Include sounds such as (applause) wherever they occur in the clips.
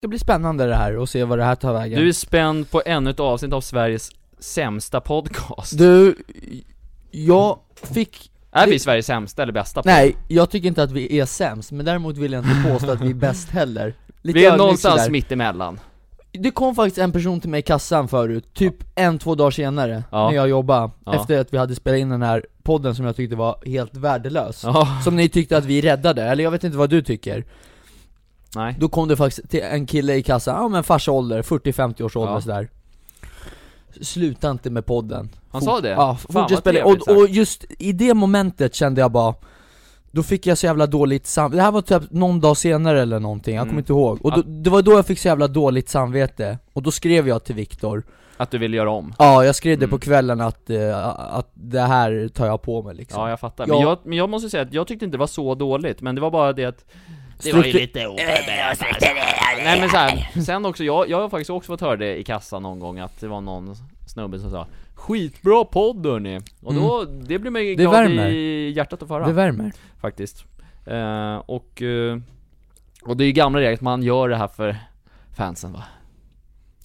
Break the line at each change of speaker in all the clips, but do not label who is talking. Det blir spännande det här och se vad det här tar vägen.
Du är spänd på ännu ett avsnitt av Sveriges sämsta podcast.
Du, jag fick...
är vi Sveriges sämsta eller bästa? podcast?
Nej, jag tycker inte att vi är sämst, men däremot vill jag inte påstå att vi är bäst
(laughs)
heller. Lite
vi är
ödmjuk
någonstans
sådär.
mittemellan.
Det kom faktiskt en person till mig i kassan förut, typ en, två dagar senare,
Ja.
när jag jobbade,
Ja.
efter att vi hade spelat in den här podden som jag tyckte var helt värdelös.
Ja,
Som ni tyckte att vi räddade, eller jag vet inte vad du tycker.
nej.
Då kom det faktiskt till en kille i kassan, ja men farsa ålder, 40-50 års ålder
Ja.
sådär Sluta inte med podden
Han
Fort-
sa det?
Ja,
Fan,
fortsätt
vad
spela
trevligt
och, och just i det momentet kände jag bara Då fick jag så jävla dåligt samvete, det här var typ någon dag senare eller någonting, jag
Mm.
kommer inte ihåg Och då, det var då jag fick så jävla dåligt samvete, och då skrev jag till Viktor
Att du vill göra om.
Ja, jag skrev det
Mm.
på kvällen att, eh, att det här tar jag på mig liksom
Ja, jag fattar.
Ja.
Men, jag, men jag måste säga att jag tyckte inte det var så dåligt, men det var bara det att det var ju
Struktur-
lite oförberett alltså. Nej men så här, sen också, jag, jag har faktiskt också fått höra det i kassan någon gång att det var någon snubbe som sa Skitbra podd hörni! Och då, det blir man ju
Mm. Det
glad
värmer.
i hjärtat att få höra
Det värmer
faktiskt. Eh, och, eh, och det är ju gamla regler att man gör det här för fansen va?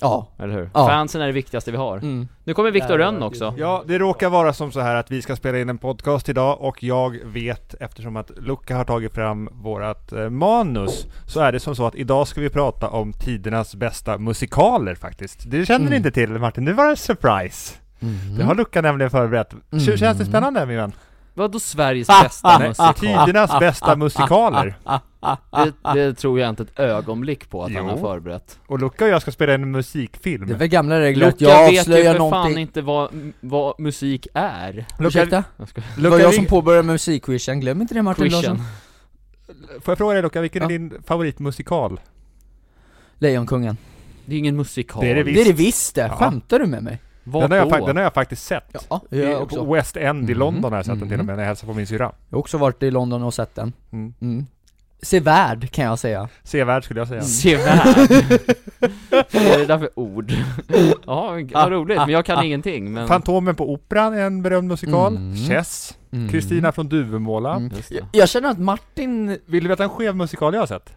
Ja,
Eller hur?
Ja.
Fansen är det viktigaste vi har.
mm.
Nu kommer Viktor
Jävlar,
Rönn också.
Ja, det råkar vara som så här att vi ska spela in en podcast idag och jag vet eftersom att Luca har tagit fram vårat eh, manus så är det som så att idag ska vi prata om tidernas bästa musikaler faktiskt. Det känner
Mm.
ni inte till Martin, det var en surprise. Det har Luca nämligen förberett. K- Känns
Mm.
det spännande min vän?
Vadå Sveriges
Ah, (laughs)
bästa
nej,
musikal?
ah,
Tidernas bästa musikaler.
Det, det tror jag inte ett ögonblick på att han
Jo.
har förberett.
Och Luca och jag ska spela in en musikfilm.
ah. Det är väl gamla regler
Luca
att jag
vet ju
avslöjar
för fan
någonting
inte vad, vad musik är.
Luca,
Ursäkta?
Jag skojar.
Det var
Luca,
jag som
vil-
påbörjade med musikquizen, glöm inte det Martin
Christian.
Larsson
får jag fråga dig Luca, vilken
Ja.
är din favoritmusikal?
Lejonkungen
Det är ju ingen musikal.
Det är det vi-
Det är det visst det,
Ja.
skämtar du med mig?
Vad
Den har, jag,
då?
fak- den har jag faktiskt sett.
Ja, jag
I-
också
På West End i
Mhm.
London har jag sett den till
Mhm.
och med när jag hälsade på min syrra.
Jag har också varit i London och sett den
Mm.
mm. Sevärd kan jag säga
Sevärd skulle jag
Mm.
säga.
Sevärd. Vad är (laughs) det där för ord? (laughs) Ja, vad roligt, men jag
(laughs)
kan ingenting men...
Fantomen på Operan är en berömd musikal.
Mm.
Chess.
Mm.
Kristina från Duvemåla.
Mm.
Just
Jag-
det.
Jag känner att Martin,
Vill du veta en skev musikal jag har sett?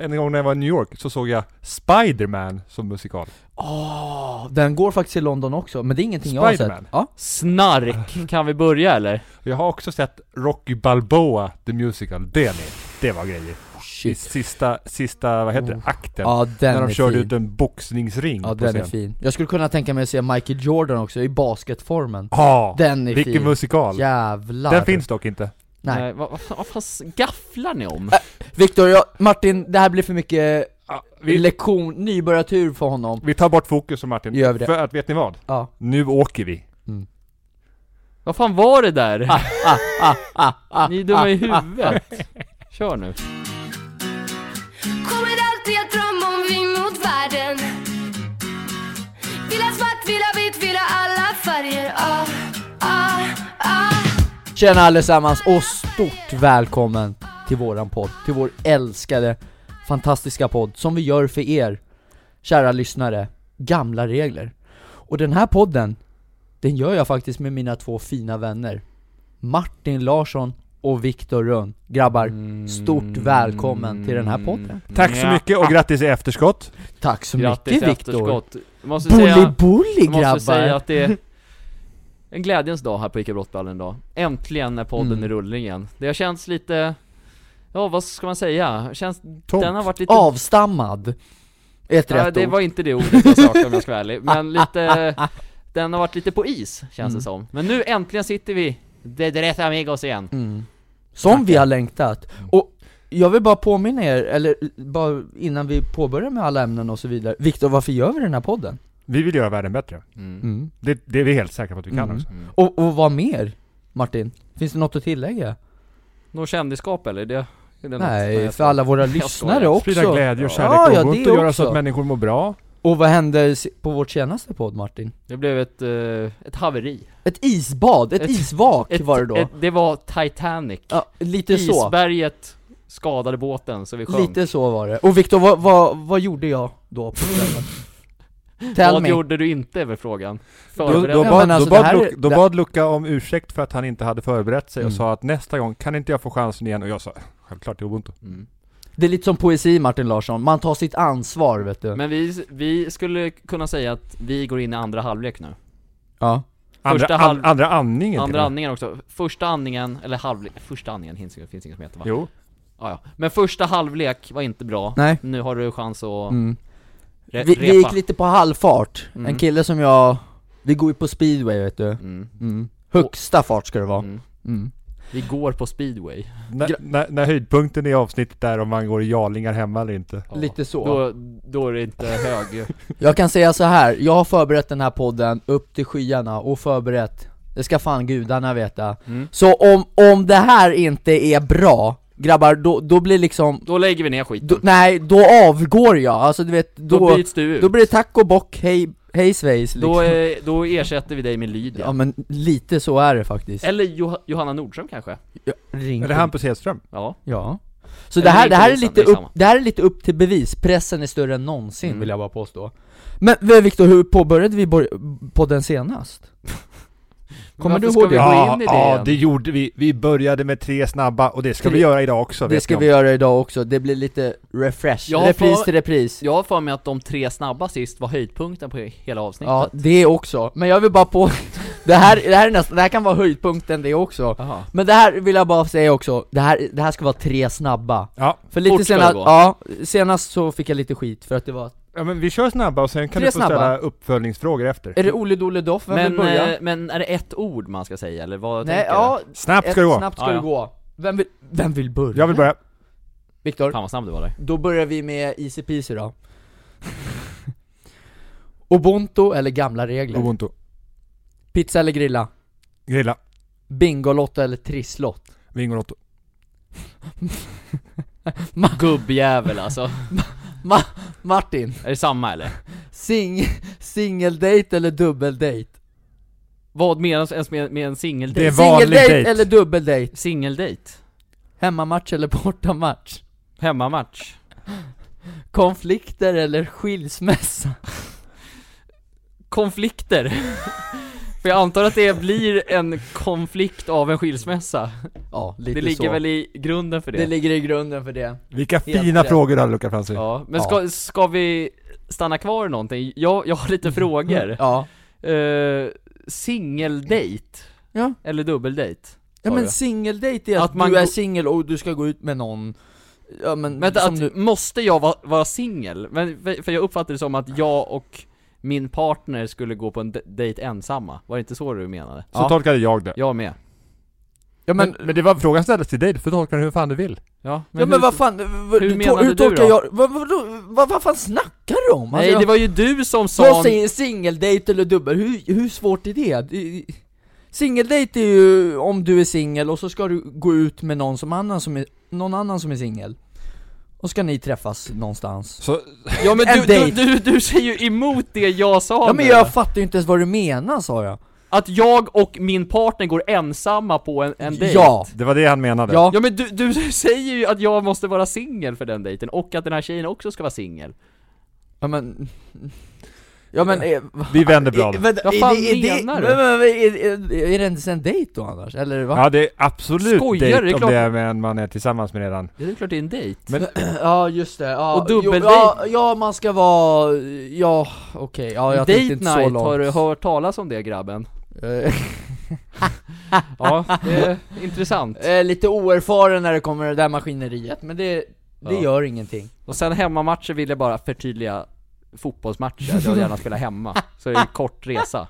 En gång när jag var i New York så såg jag Spiderman som musikal.
åh, den går faktiskt i London också, men det är ingenting jag har sett
Spiderman.
Ja,
Snark, kan vi börja eller?
Jag har också sett Rocky Balboa The Musical. Det, ni, det var grejer. I
Oh, shit Oh.
sista, sista, vad heter det, akten.
Ja den
när
är
de körde
fin
ut en boxningsring
Ja
på
den är
scen.
fin Jag skulle kunna tänka mig att se Michael Jordan också i basketformen
Ja,
Den är
vilken
fin,
musikal.
jävlar
Den finns dock inte.
Nej.
Eh, vad, vad, fan- vad fan s- gafflar ni om?
Viktor, jag, Martin, det här blir för mycket
Ja, vi,
lektion, nybörjartur för honom
vi tar bort fokus från Martin.
Gör vi det.
För att, vet ni vad?
Ja,
Nu åker vi.
Vad fan var det där?
Ah,
Ni är dumma i huvudet. Kör nu.
Kommer alltid att drömma om vi mot världen Vill ha svart, vill ha vitt, vill ha alla färger ah, ah, ah.
Tjena allesammans och stort välkommen till våran podd, till vår älskade, fantastiska podd som vi gör för er, kära lyssnare, gamla regler. Och den här podden, den gör jag faktiskt med mina två fina vänner, Martin Larsson och Viktor Rönn. Grabbar,
Mm.
stort välkommen till den här podden.
Tack så
Ja.
mycket och grattis i efterskott.
Tack så
Grattis
mycket Viktor.
efterskott. Måste säga,
Bully-bully
måste säga
grabbar!
att det är en glädjens dag här på ICA Brottballen idag. Äntligen är podden
Mm.
i rullning igen. Det har känts lite, ja vad ska man säga? Känns,
Tomt.
den har varit lite
Avstammad! Ett
Ja,
rätt
det
ord.
var inte det ordet jag sökte om jag ska vara
(laughs)
ärlig, men lite, den har varit lite på is känns
Mm.
det som. Men nu äntligen sitter vi, de Dres Amigos igen.
Mm. Som vi har längtat.
Mm.
Och jag vill bara påminna er, eller bara innan vi påbörjar med alla ämnen och så vidare. Viktor, varför gör vi den här podden?
Vi vill göra världen bättre.
Mm.
Det, det är vi helt säkra på att vi kan
Mm.
också.
Och, och vad mer? Martin, finns det något att tillägga?
Något kändisskap eller? Det, är det något?
Nej,
jag
för
skojar.
alla våra
(laughs) Jag
lyssnare
skojar.
Sprida
också.
glädje och
Ja,
kärlek
ja,
och
det
gott och göra så
också.
att människor mår bra.
Och vad hände se- på vårt senaste podd Martin?
Det blev ett, eh, ett haveri.
Ett isbad, ett,
Ett-
isvak
Ett,
var det då.
Ett, det var Titanic.
ja, lite så.
Isberget skadade båten så vi sjönk.
Lite så var det. Och Viktor, vad, vad, vad gjorde jag då? på
(laughs)
kvällen? Tell
Vad
me.
gjorde du inte är väl frågan?
Då,
Förberedde
då,
Ja,
bad,
men alltså,
då, bad
det här är-
Luca, då
det-
bad Luca om ursäkt för att han inte hade förberett sig
Mm.
och sa att nästa gång kan inte jag få chansen igen och jag sa självklart det är ubuntu.
Mm.
Det är lite som poesi Martin Larsson, man tar sitt ansvar vet du
Men vi, vi skulle kunna säga att vi går in i andra halvlek nu
Ja
Andra,
Första
an,
halv-
andra andningen till
Andra
och med.
andningen också, första andningen, eller halvlek, första andningen finns, det finns inget som heter va?
Jo,
Ja, ja. Men första halvlek var inte bra,
Nej.
nu har du chans att
mm.
re-
vi,
repa
vi gick lite på halvfart,
Mm.
en kille som jag, vi går ju på speedway vet du
mm.
mm. Högsta fart ska det vara
Mm.
mm.
Vi går på speedway
när, när, när höjdpunkten i avsnittet är om man går i jarlingar hemma eller inte.
Ja.
Lite så
då, då är det inte hög
Jag kan säga så här. jag har förberett den här podden upp till skyarna och förberett, det ska fan gudarna veta
Mm.
Så om, om det här inte är bra, grabbar, då, då blir liksom,
Då lägger vi ner skiten,
då,
då,
nej då avgår jag, alltså du vet, då, då,
byts du ut
blir det tack och bock, hej, hej svejs liksom.
Då, eh, då ersätter vi dig med Lydia
Ja men lite så är det faktiskt
Eller Joh- Johanna Nordström kanske?
Ja, ring
Eller Hampus Hedström.
Ja,
Ja Så
Eller
det här,
inte
det här är
Lisa,
lite
det är
upp,
samma.
det här är lite upp till bevis, pressen är större än någonsin
Mm.
vill jag bara påstå Men men Viktor, hur påbörjade vi bor- podden senast? Kommer
Varför
du
ska
ihåg
vi
det?
gå
Ja,
in i det
ja
igen?
det gjorde vi. Vi började med tre snabba och det ska vi
Tre-
göra idag också.
Det
vet
ska
ni
vi
om.
göra idag också, det blir lite refresh,
Jag har
repris
för-
till repris
Jag har för mig att de tre snabba sist var höjdpunkten på hela avsnittet
Ja, det också, men jag vill bara på... (laughs) det, här, det, här är nästan, det här kan vara höjdpunkten det också
Aha.
Men det här vill jag bara säga också, det här, det här ska vara tre snabba
Ja.
För lite
Fort ska det
senast,
gå.
ja, senast så fick jag lite skit för att det var
ja, men vi kör snabba och sen kan
Tre
du få
snabba.
ställa uppföljningsfrågor efter.
Är det Olle Dole Doff? Vem vill
Men,
börja?
eh, men är det ett ord man ska säga eller vad
Nej,
tänker
ja,
Snabbt
ett
ska det gå.
snabbt ska
Ja,
det
ja.
gå Vem vill, vem vill börja?
Jag vill börja.
du?
Viktor,
Fan vad snabb du var där
då börjar vi med Easy Peasy då (laughs) Ubuntu eller gamla regler?
Ubuntu.
Pizza eller grilla?
Grilla.
Bingolotto eller trisslott?
Vingolotto.
Gubbjävel alltså,
Martin,
är det samma eller?
sing, singeldate eller dubbeldate?
Vad menas ens med, med en singeldejt?
Det är vanlig dejt.
eller dubbeldate?
Singeldejt?
Hemmamatch eller bortamatch?
Hemmamatch?
Konflikter eller skilsmässa?
Konflikter? (laughs) För jag antar att det blir en konflikt av en skilsmässa
Ja, lite
Det ligger
så
väl i grunden för det?
Det ligger i grunden för det
Vilka
Helt
fina
rätt.
frågor du hade Luca Fransson.
Ja, men ska, ska vi stanna kvar i någonting? Jag, jag har lite frågor
Mm. Ja
uh, Singeldejt?
Ja.
Eller dubbeldejt?
Ja
sa
men
du.
singeldate är att,
Att man
du är
går-
singel och du ska gå ut med någon Ja men,
Vänta,
Mm, som
att,
du...
måste jag vara, vara singel? Men- För, för jag uppfattade det som att jag och min partner skulle gå på en de- dejt ensamma, var det inte så du menade?
Så
Ja.
tolkade jag det.
Jag med
Ja men,
Men, men det var frågan ställdes till dig, du får tolka den hur fan du vill.
Ja, men,
ja, men
hur-
vad fan, hur,
hur
hur,
menade
tol- hur
du
tolkar
då?
jag, vad, vad, vad, vad fan snackar du om?
Nej det var ju du som
jag, jag
sa...
Alltså, säger singeldate eller dubbel, hur, hur svårt är det? Det- Singeldate är ju om du är singel och så ska du gå ut med någon, som annan, som är, någon annan som är singel Och ska ni träffas någonstans
Så,
Ja men
En
du, du,
dejt.
du, du säger ju emot det jag sa
Ja men
nu.
jag fattar ju inte ens vad du menar sa jag
Att jag och min partner går ensamma på en, en dejt
Ja,
det var det han menade.
ja,
Ja men du, du (laughs) säger ju att jag måste vara singel för den dejten, och att den här tjejen också ska vara singel
ja men Ja men, eh,
Vi vänder bladet.
Vänta,
Vad
är
fan
det- är det-
menar du?
men- men- men Är är- är det inte en dejt då annars? Eller va?
Ja det är absolut
Skojar,
dejt
det är
om
klart.
det är med en man är tillsammans med redan.
Det är klart det är en dejt
Ja just det, ja,
Och dubbeldejt.
jo, ja, ja man ska vara, ja okej, ja jag
Date
tänkte
night,
inte så långt
har du hört talas om det grabben?
Eh, (laughs)
Ja, det är intressant
eh, Lite oerfaren när det kommer det där maskineriet, men det, det
Ja.
gör ingenting
Och sen hemmamatcher vill jag bara förtydliga Fotbollsmatcher, jag vill gärna spela hemma, så det är en kort resa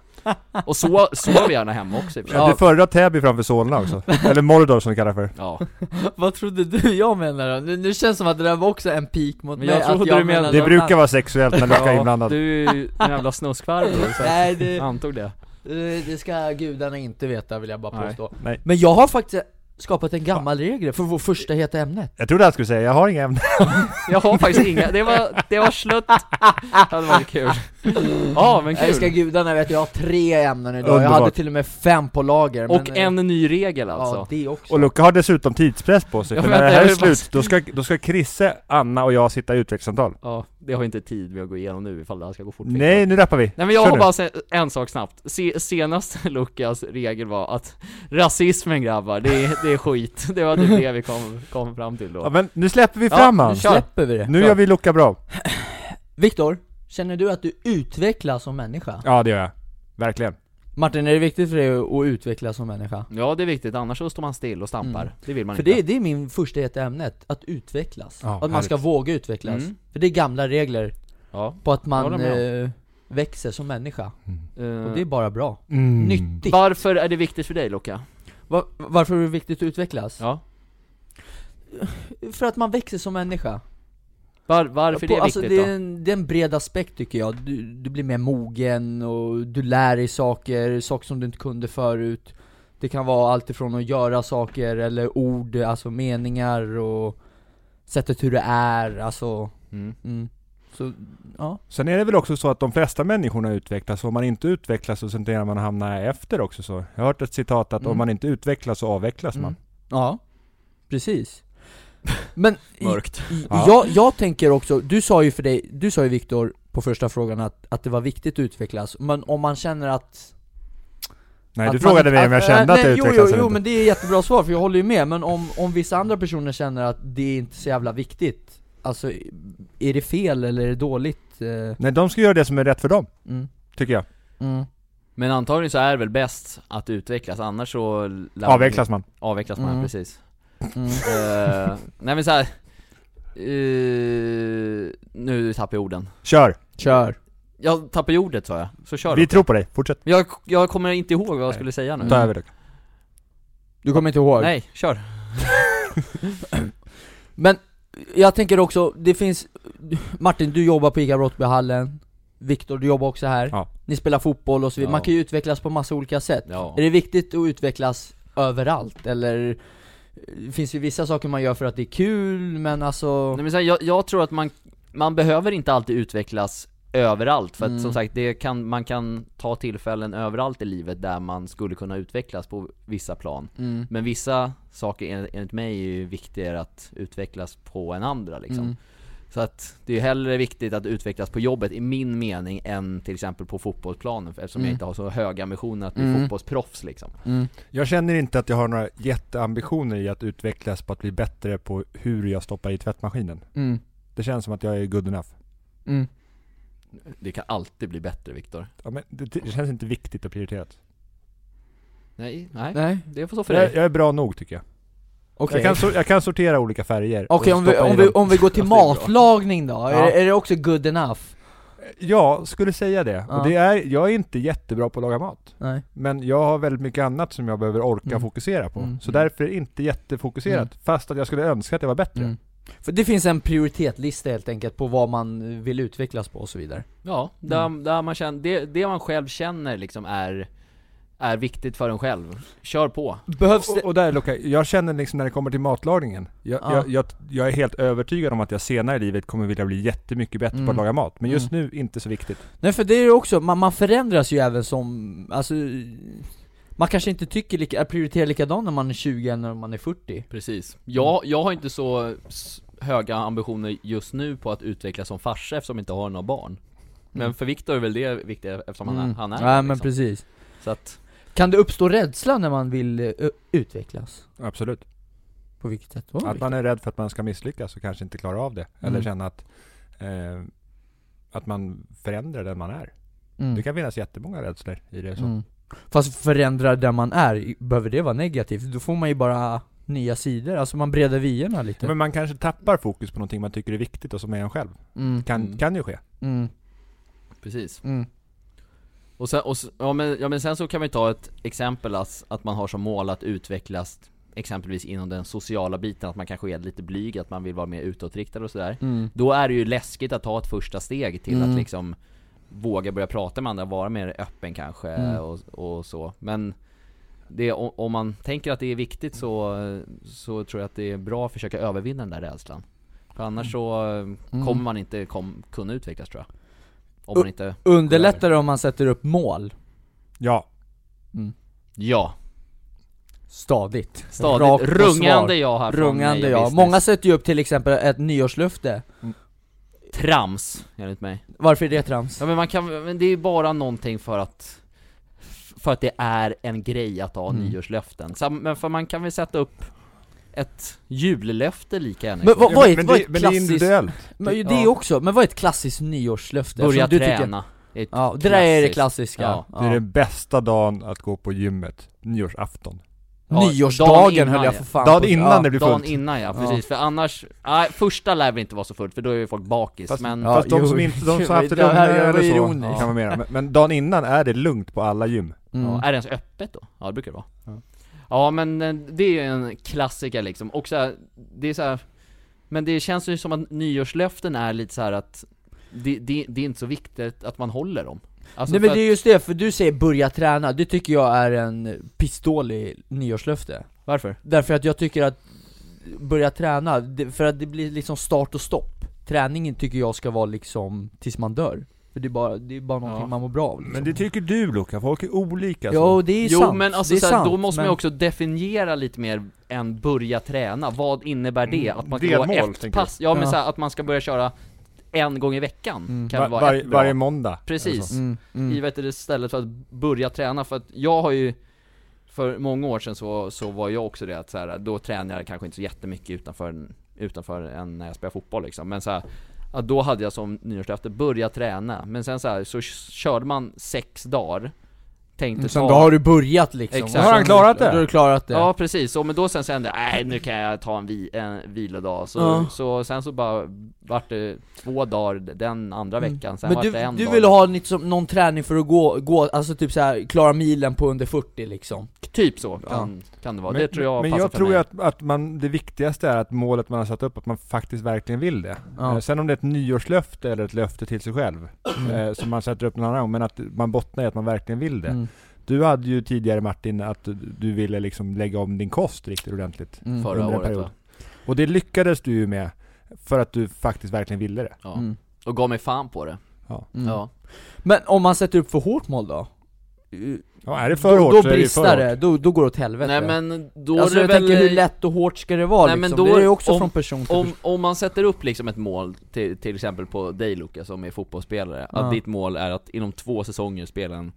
Och så sover vi gärna hemma också i och för sig.
Ja.
Du föredrar Täby framför Solna
(laughs)
också. Eller Mordor som det kallas för.
Ja,
(laughs) Vad trodde du (laughs) jag menade då? Nu, nu känns det som att det där var också en pik mot
Men
mig
jag
att
trodde du menade-
Det
något
brukar
annat.
vara sexuellt när Luca är
ja
inblandad.
du är ju en jävla snuskfarbror så att
Nej det,
jag antog det
eh, det ska gudarna inte veta vill jag bara
Nej.
påstå
Nej.
Men jag har faktiskt skapat en gammal regel för vår första heta ämnet
Jag trodde han skulle säga, jag har inga ämnen.
Jag har faktiskt inga, det var, det var slött Det hade varit kul Ja, men
Jag ska
kul!
gudarna vet jag har tre ämnen idag, jag
Underbart.
hade till och med fem på lager
Och
men, eh,
en ny regel
Ja,
alltså.
det också
Och Luca har dessutom tidspress på sig,
Ja,
för
vänta,
när det
jag
här är
vill bara-
slut, då ska, då ska Krisse, Anna och jag sitta i utvecklingssamtal.
Ja, det har inte tid med att gå igenom nu ifall det här ska gå fort.
Nej, nu rappar vi!
Nej men jag
Kör
har
nu.
bara se- en sak snabbt. Se, senaste (laughs) Lukas regel var att rasismen grabbar, det är, det är skit. Det var typ det vi kom, kom fram till
Ja,
då.
men nu släpper vi
Ja,
fram han!
Nu släpper vi det
alltså. Nu gör vi Luca bra.
Viktor, känner du att du utvecklas som människa?
Ja, det gör jag. Verkligen.
Martin, är det viktigt för dig att utvecklas som människa?
Ja det är viktigt, annars så står man still och stampar.
Mm.
Det vill man
För det,
inte.
det är min första heta ämnet, att utvecklas.
Ja,
att man ska
härligt.
våga utvecklas.
Mm.
För det är gamla regler
Ja.
på att
Jag håller
man
med
eh, växer som människa.
eh,
Och det är bara bra.
Mm.
Nyttigt.
varför är det viktigt för dig Luca?
Va- varför är det viktigt att utvecklas?
Ja.
För att man växer som människa.
Var, varför
På-
är det
alltså,
viktigt
det, är en, det är en bred aspekt tycker jag. Du, du blir mer mogen och du lär dig saker, saker som du inte kunde förut. Det kan vara allt ifrån att göra saker eller ord, alltså meningar och sättet hur det är, alltså
då? Mm.
mm. Så, ja.
Sen är det väl också så att de flesta människorna utvecklas, och om man inte utvecklas så tenderar man att hamna efter också så. Jag har hört ett citat att
Mm.
om man inte utvecklas så avvecklas
Mm.
Alltså man.
Ja,
(laughs)
precis. Men i-
Mörkt.
i-
Ja.
jag, jag tänker också, du sa ju för dig, du sa ju Viktor på första frågan att, att det var viktigt att utvecklas, men om man känner att...
Nej,
att
du
man
frågade
inte-
mig om jag
att-
kände
äh,
att jag
nej, jo,
utvecklas
jo,
eller
jo,
inte.
men det är jättebra svar för jag håller ju med, men om, om vissa andra personer känner att det är inte så jävla viktigt, alltså är det fel eller är det dåligt? Eh,
Nej, de ska göra det som är rätt för dem,
Mm.
tycker jag.
Mm.
Men antagligen så är det väl bäst att utvecklas, annars så... lär man-
Avvecklas man.
Avvecklas man,
Mm.
precis.
Mm.
Eh, nej men såhär, eh, nu tappar jag orden.
Kör!
Kör!
Jag tappar ju ordet sa jag, så kör
Vi
vi...
tror på dig, fortsätt.
jag, jag kommer inte ihåg vad jag
Nej.
skulle säga nu.
Ta
Mm.
över det.
Du kommer inte ihåg?
Nej, kör.
Men jag tänker också, det finns Martin, du jobbar på ICA Brottbyhallen Viktor, du jobbar också här
Ja.
Ni spelar fotboll och så vidare,
Ja.
man kan ju utvecklas på massa olika sätt
Ja.
Är det viktigt att utvecklas överallt, eller? Det finns ju vissa saker man gör för att det är kul, men alltså
Nej, men såhär, jag, jag tror att man, man behöver inte alltid utvecklas överallt, för att
Mm.
som sagt, det kan, man kan ta tillfällen överallt i livet där man skulle kunna utvecklas på vissa plan.
mm,
Men vissa saker en- enligt mig är ju viktigare att utvecklas på än andra liksom.
mm,
Så att det är ju hellre viktigt att utvecklas på jobbet i min mening än till exempel på fotbollsplanen för- eftersom jag
Mm.
inte har så höga ambitioner att bli
Mm.
fotbollsproffs liksom.
mm.
Jag känner inte att jag har några jätteambitioner i att utvecklas på att bli bättre på hur jag stoppar i tvättmaskinen.
Mm.
Det känns som att jag är good enough.
Mm.
Det kan alltid bli bättre Viktor.
Ja, men det, det känns inte viktigt och prioriterat.
Nej, nej.
Nej,
Det får stå för
Jag,
dig.
jag är bra nog tycker jag.
okej
Jag, kan so- jag kan sortera olika färger. och
Okej, om, vi,
stoppa i
om, vi,
dem.
om vi (laughs) går till
Det är bra.
matlagning då, är,
Ja.
det- är det också good enough?
Ja, skulle säga det.
Ja.
Och det är, jag är inte jättebra på att laga mat.
Nej,
Men jag har väldigt mycket annat som jag behöver orka
Mm.
fokusera på.
Mm.
Så därför är det inte jättefokuserat. Fast att jag skulle önska att jag var bättre.
mm. För det finns en prioritetlista helt enkelt på vad man vill utvecklas på och så vidare
Ja, där,
Mm.
där man känner, det, det man själv känner liksom är, är viktigt för en själv. Kör på.
Behövs det?
Och, och där Luca, jag känner liksom när det kommer till matlagningen. Jag,
Ja.
jag, jag, jag är helt övertygad om att jag senare i livet kommer vilja bli jättemycket bättre på
Mm.
att laga mat. Men just nu, inte så viktigt.
Nej för det är ju också, man, man förändras ju även som, alltså Man kanske inte tycker lika, prioriterar likadant när man är 20 än när man är 40
Precis.
Mm.
Jag, jag har inte så s- höga ambitioner just nu på att utvecklas som farsa eftersom jag inte har några barn. Men
Mm.
för Viktor är väl det viktigt eftersom han, är- han är
Ja
det,
Mm. men
liksom.
precis
Så att
Kan det uppstå rädsla när man vill eh, ö- utvecklas?
Absolut.
På vilket sätt då?
Att man är rädd för att man ska misslyckas och kanske inte klara av det. Eller
Mm.
känna att, eh, att man förändrar den man är.
mm.
Det kan finnas jättemånga rädslor i det. Så.
mm. Fast förändra där man är, i- behöver det vara negativt? Då får man ju bara nya sidor, alltså man breder vyerna lite
Men man kanske tappar fokus på någonting man tycker är viktigt och som är en själv.
mm.
Kan,
Mm.
kan ju ske.
Mm.
Precis.
Mm.
Och sen, och, s- ja, men, ja men sen så kan vi ta ett exempel att, att man har som mål att utvecklas exempelvis inom den sociala biten, att man kanske är lite blyg, att man vill vara mer utåtriktad och sådär.
Mm.
Då är det ju läskigt att ta ett första steg till
Mm.
att liksom våga börja prata med andra, vara mer öppen kanske
Mm.
och, och så. Men det, o- om man tänker att det är viktigt så, så tror jag att det är bra att försöka övervinna den där rädslan. För annars så eh,
Mm.
kommer man inte kom, kunna utvecklas tror jag. Om man inte...
Underlättar det om man sätter upp mål?
Ja.
Ja,
Stadigt. Rakt
stadigt.
på
Rungande
svar.
ja här från
Rungande
Meja
ja.
Business.
Många sätter ju upp till exempel ett nyårslöfte.
Trams, enligt mig.
Varför är det trams?
Ja men man kan, men det är ju bara någonting för att För att det är en grej att ha
Mm.
nyårslöften, Sam, men för man kan väl sätta upp ett jullöfte lika gärna
Men vad,
Ja,
vad är
men
ett, vad är
det-
ett
men det är
klassiskt...
individuellt.
Men ju det
Ja.
också, men vad är ett klassiskt nyårslöfte?
Börja
Som du tycker-
träna är ett
Ja, det där är det
klassiskt.
klassiska.
Ja.
Ja.
Det är den bästa dagen att gå på gymmet, nyårsafton.
Ja, dagen
Nyårsdagen
innan,
höll jag
ja.
för fan
Dagen
på-
innan
ja.
det blir
Dagen
fullt.
innan
Ja.
ja, precis, för annars, nej första lär väl inte vara så fullt för då är ju folk bakis
Fast-
men
Ja,
Fast de
jo,
som inte, de
jo,
(laughs) som haft det
det här
lugnare
var
eller så, kan
ironiskt.
vara mera. Men, men dagen innan är det lugnt på alla gym.
Mm.
Ja, är det ens öppet då? Ja det brukar det vara
Ja.
Ja, men eh, det är ju en klassiker liksom, och så här, det är så här, Men det känns ju som att nyårslöften är lite så här att det, det, det är inte så viktigt att man håller dem alltså
Nej
för
men det är just det, för du säger börja träna, det tycker jag är en pistolig nyårslöfte
att, Varför?
Därför att jag tycker att börja träna, det- för att det blir liksom start och stopp Träningen tycker jag ska vara liksom tills man dör För det är bara, det är bara någonting
Ja.
man mår bra av liksom.
Men det tycker du Luca, folk är olika.
Jo det är
Jo
sant,
men alltså
det är
så här,
sant,
då måste man
men-
ju också definiera lite mer än börja träna, vad innebär det?
Mm,
Att man
delmål,
ska gå ett
tänker
pass? Ja men
Ja.
så här, att man ska börja köra en gång i veckan,
Mm.
kan
var,
vara
varje-
ett bra
varje Alltså. måndag. eller
Precis,
så.
mm, mm.
i vet du, istället för att börja träna för att jag har ju För många år sedan så, så var jag också det att så här, då tränade jag kanske inte så jättemycket utanför, en- utanför än när jag spelade fotboll liksom Men så här, att då hade jag som nyårslöfte, börja träna Men sen så här, så körde man sex dagar Tänkte
Mm, Sen
ta-
då har du börjat liksom
Exakt.
och sen-
Har
han klarat det?
Då har du klarat det
Ja precis, och men då sen så kände jag nej nu kan jag ta en, vi, en vilodag, så,
Ja.
så sen så bara vart det två dagar den andra veckan, sen
Mm. Men
vart
du,
det en
du
dag
ville ha liksom, någon träning för att gå, gå alltså typ så här, klara milen på under 40 liksom
Typ så kan, kan det vara, det tror jag
men
passar
jag
för
tror
mig.
ju att, att man, det viktigaste är att målet man har satt upp, att man faktiskt verkligen vill det.
Ja.
Eh, Sen om det är ett nyårslöfte eller ett löfte till sig själv,
Mm.
eh, som man sätter upp någon annan gång, men att man bottnar i att man verkligen vill det.
Mm.
Du hade ju tidigare Martin att du- du ville liksom lägga om din kost riktigt ordentligt.
Mm.
förra
under en
året
period.
va?
Och det lyckades du ju med, för att du faktiskt verkligen ville det.
Ja.
Mm.
Och gav mig fan på det.
Mm.
Ja.
Men om man sätter upp för hårt mål då?
Ja, är det för
då,
hårt
då
så är det ju
brister
för
det,
hårt.
då, då går det åt helvete
Nej men då
Alltså
är det
jag
väl,
tänker hur lätt och hårt ska det vara
Nej,
liksom?
men då-
Det är ju också
om-
från person till
om,
person
om man sätter upp liksom ett mål, till, till exempel på dig Luca som är fotbollsspelare,
Ja.
att ditt mål är att inom två säsonger spela en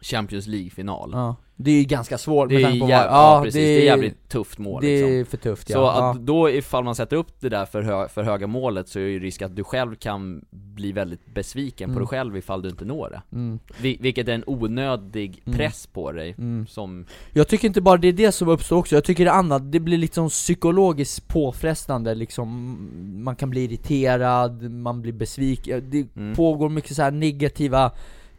Champions League-final.
ja. Det är ju ganska svårt
Det är,
med tanke
jävligt,
på
ja,
vad- ja,
precis, det är jävligt tufft mål
Det
liksom.
är för tufft
Så
ja.
att då ifall man sätter upp det där för, hö, för höga målet så är ju risk att du själv kan bli väldigt besviken på
Mm.
dig själv ifall du inte når det.
ja. Mm.
Vil- vilket är en onödig
Mm.
press på dig
Mm.
som,
Jag tycker inte bara det är det som uppstår också, jag tycker det annat, det blir liksom psykologiskt påfrestande liksom Man kan bli irriterad, man blir besviken, det
Mm.
pågår mycket så här negativa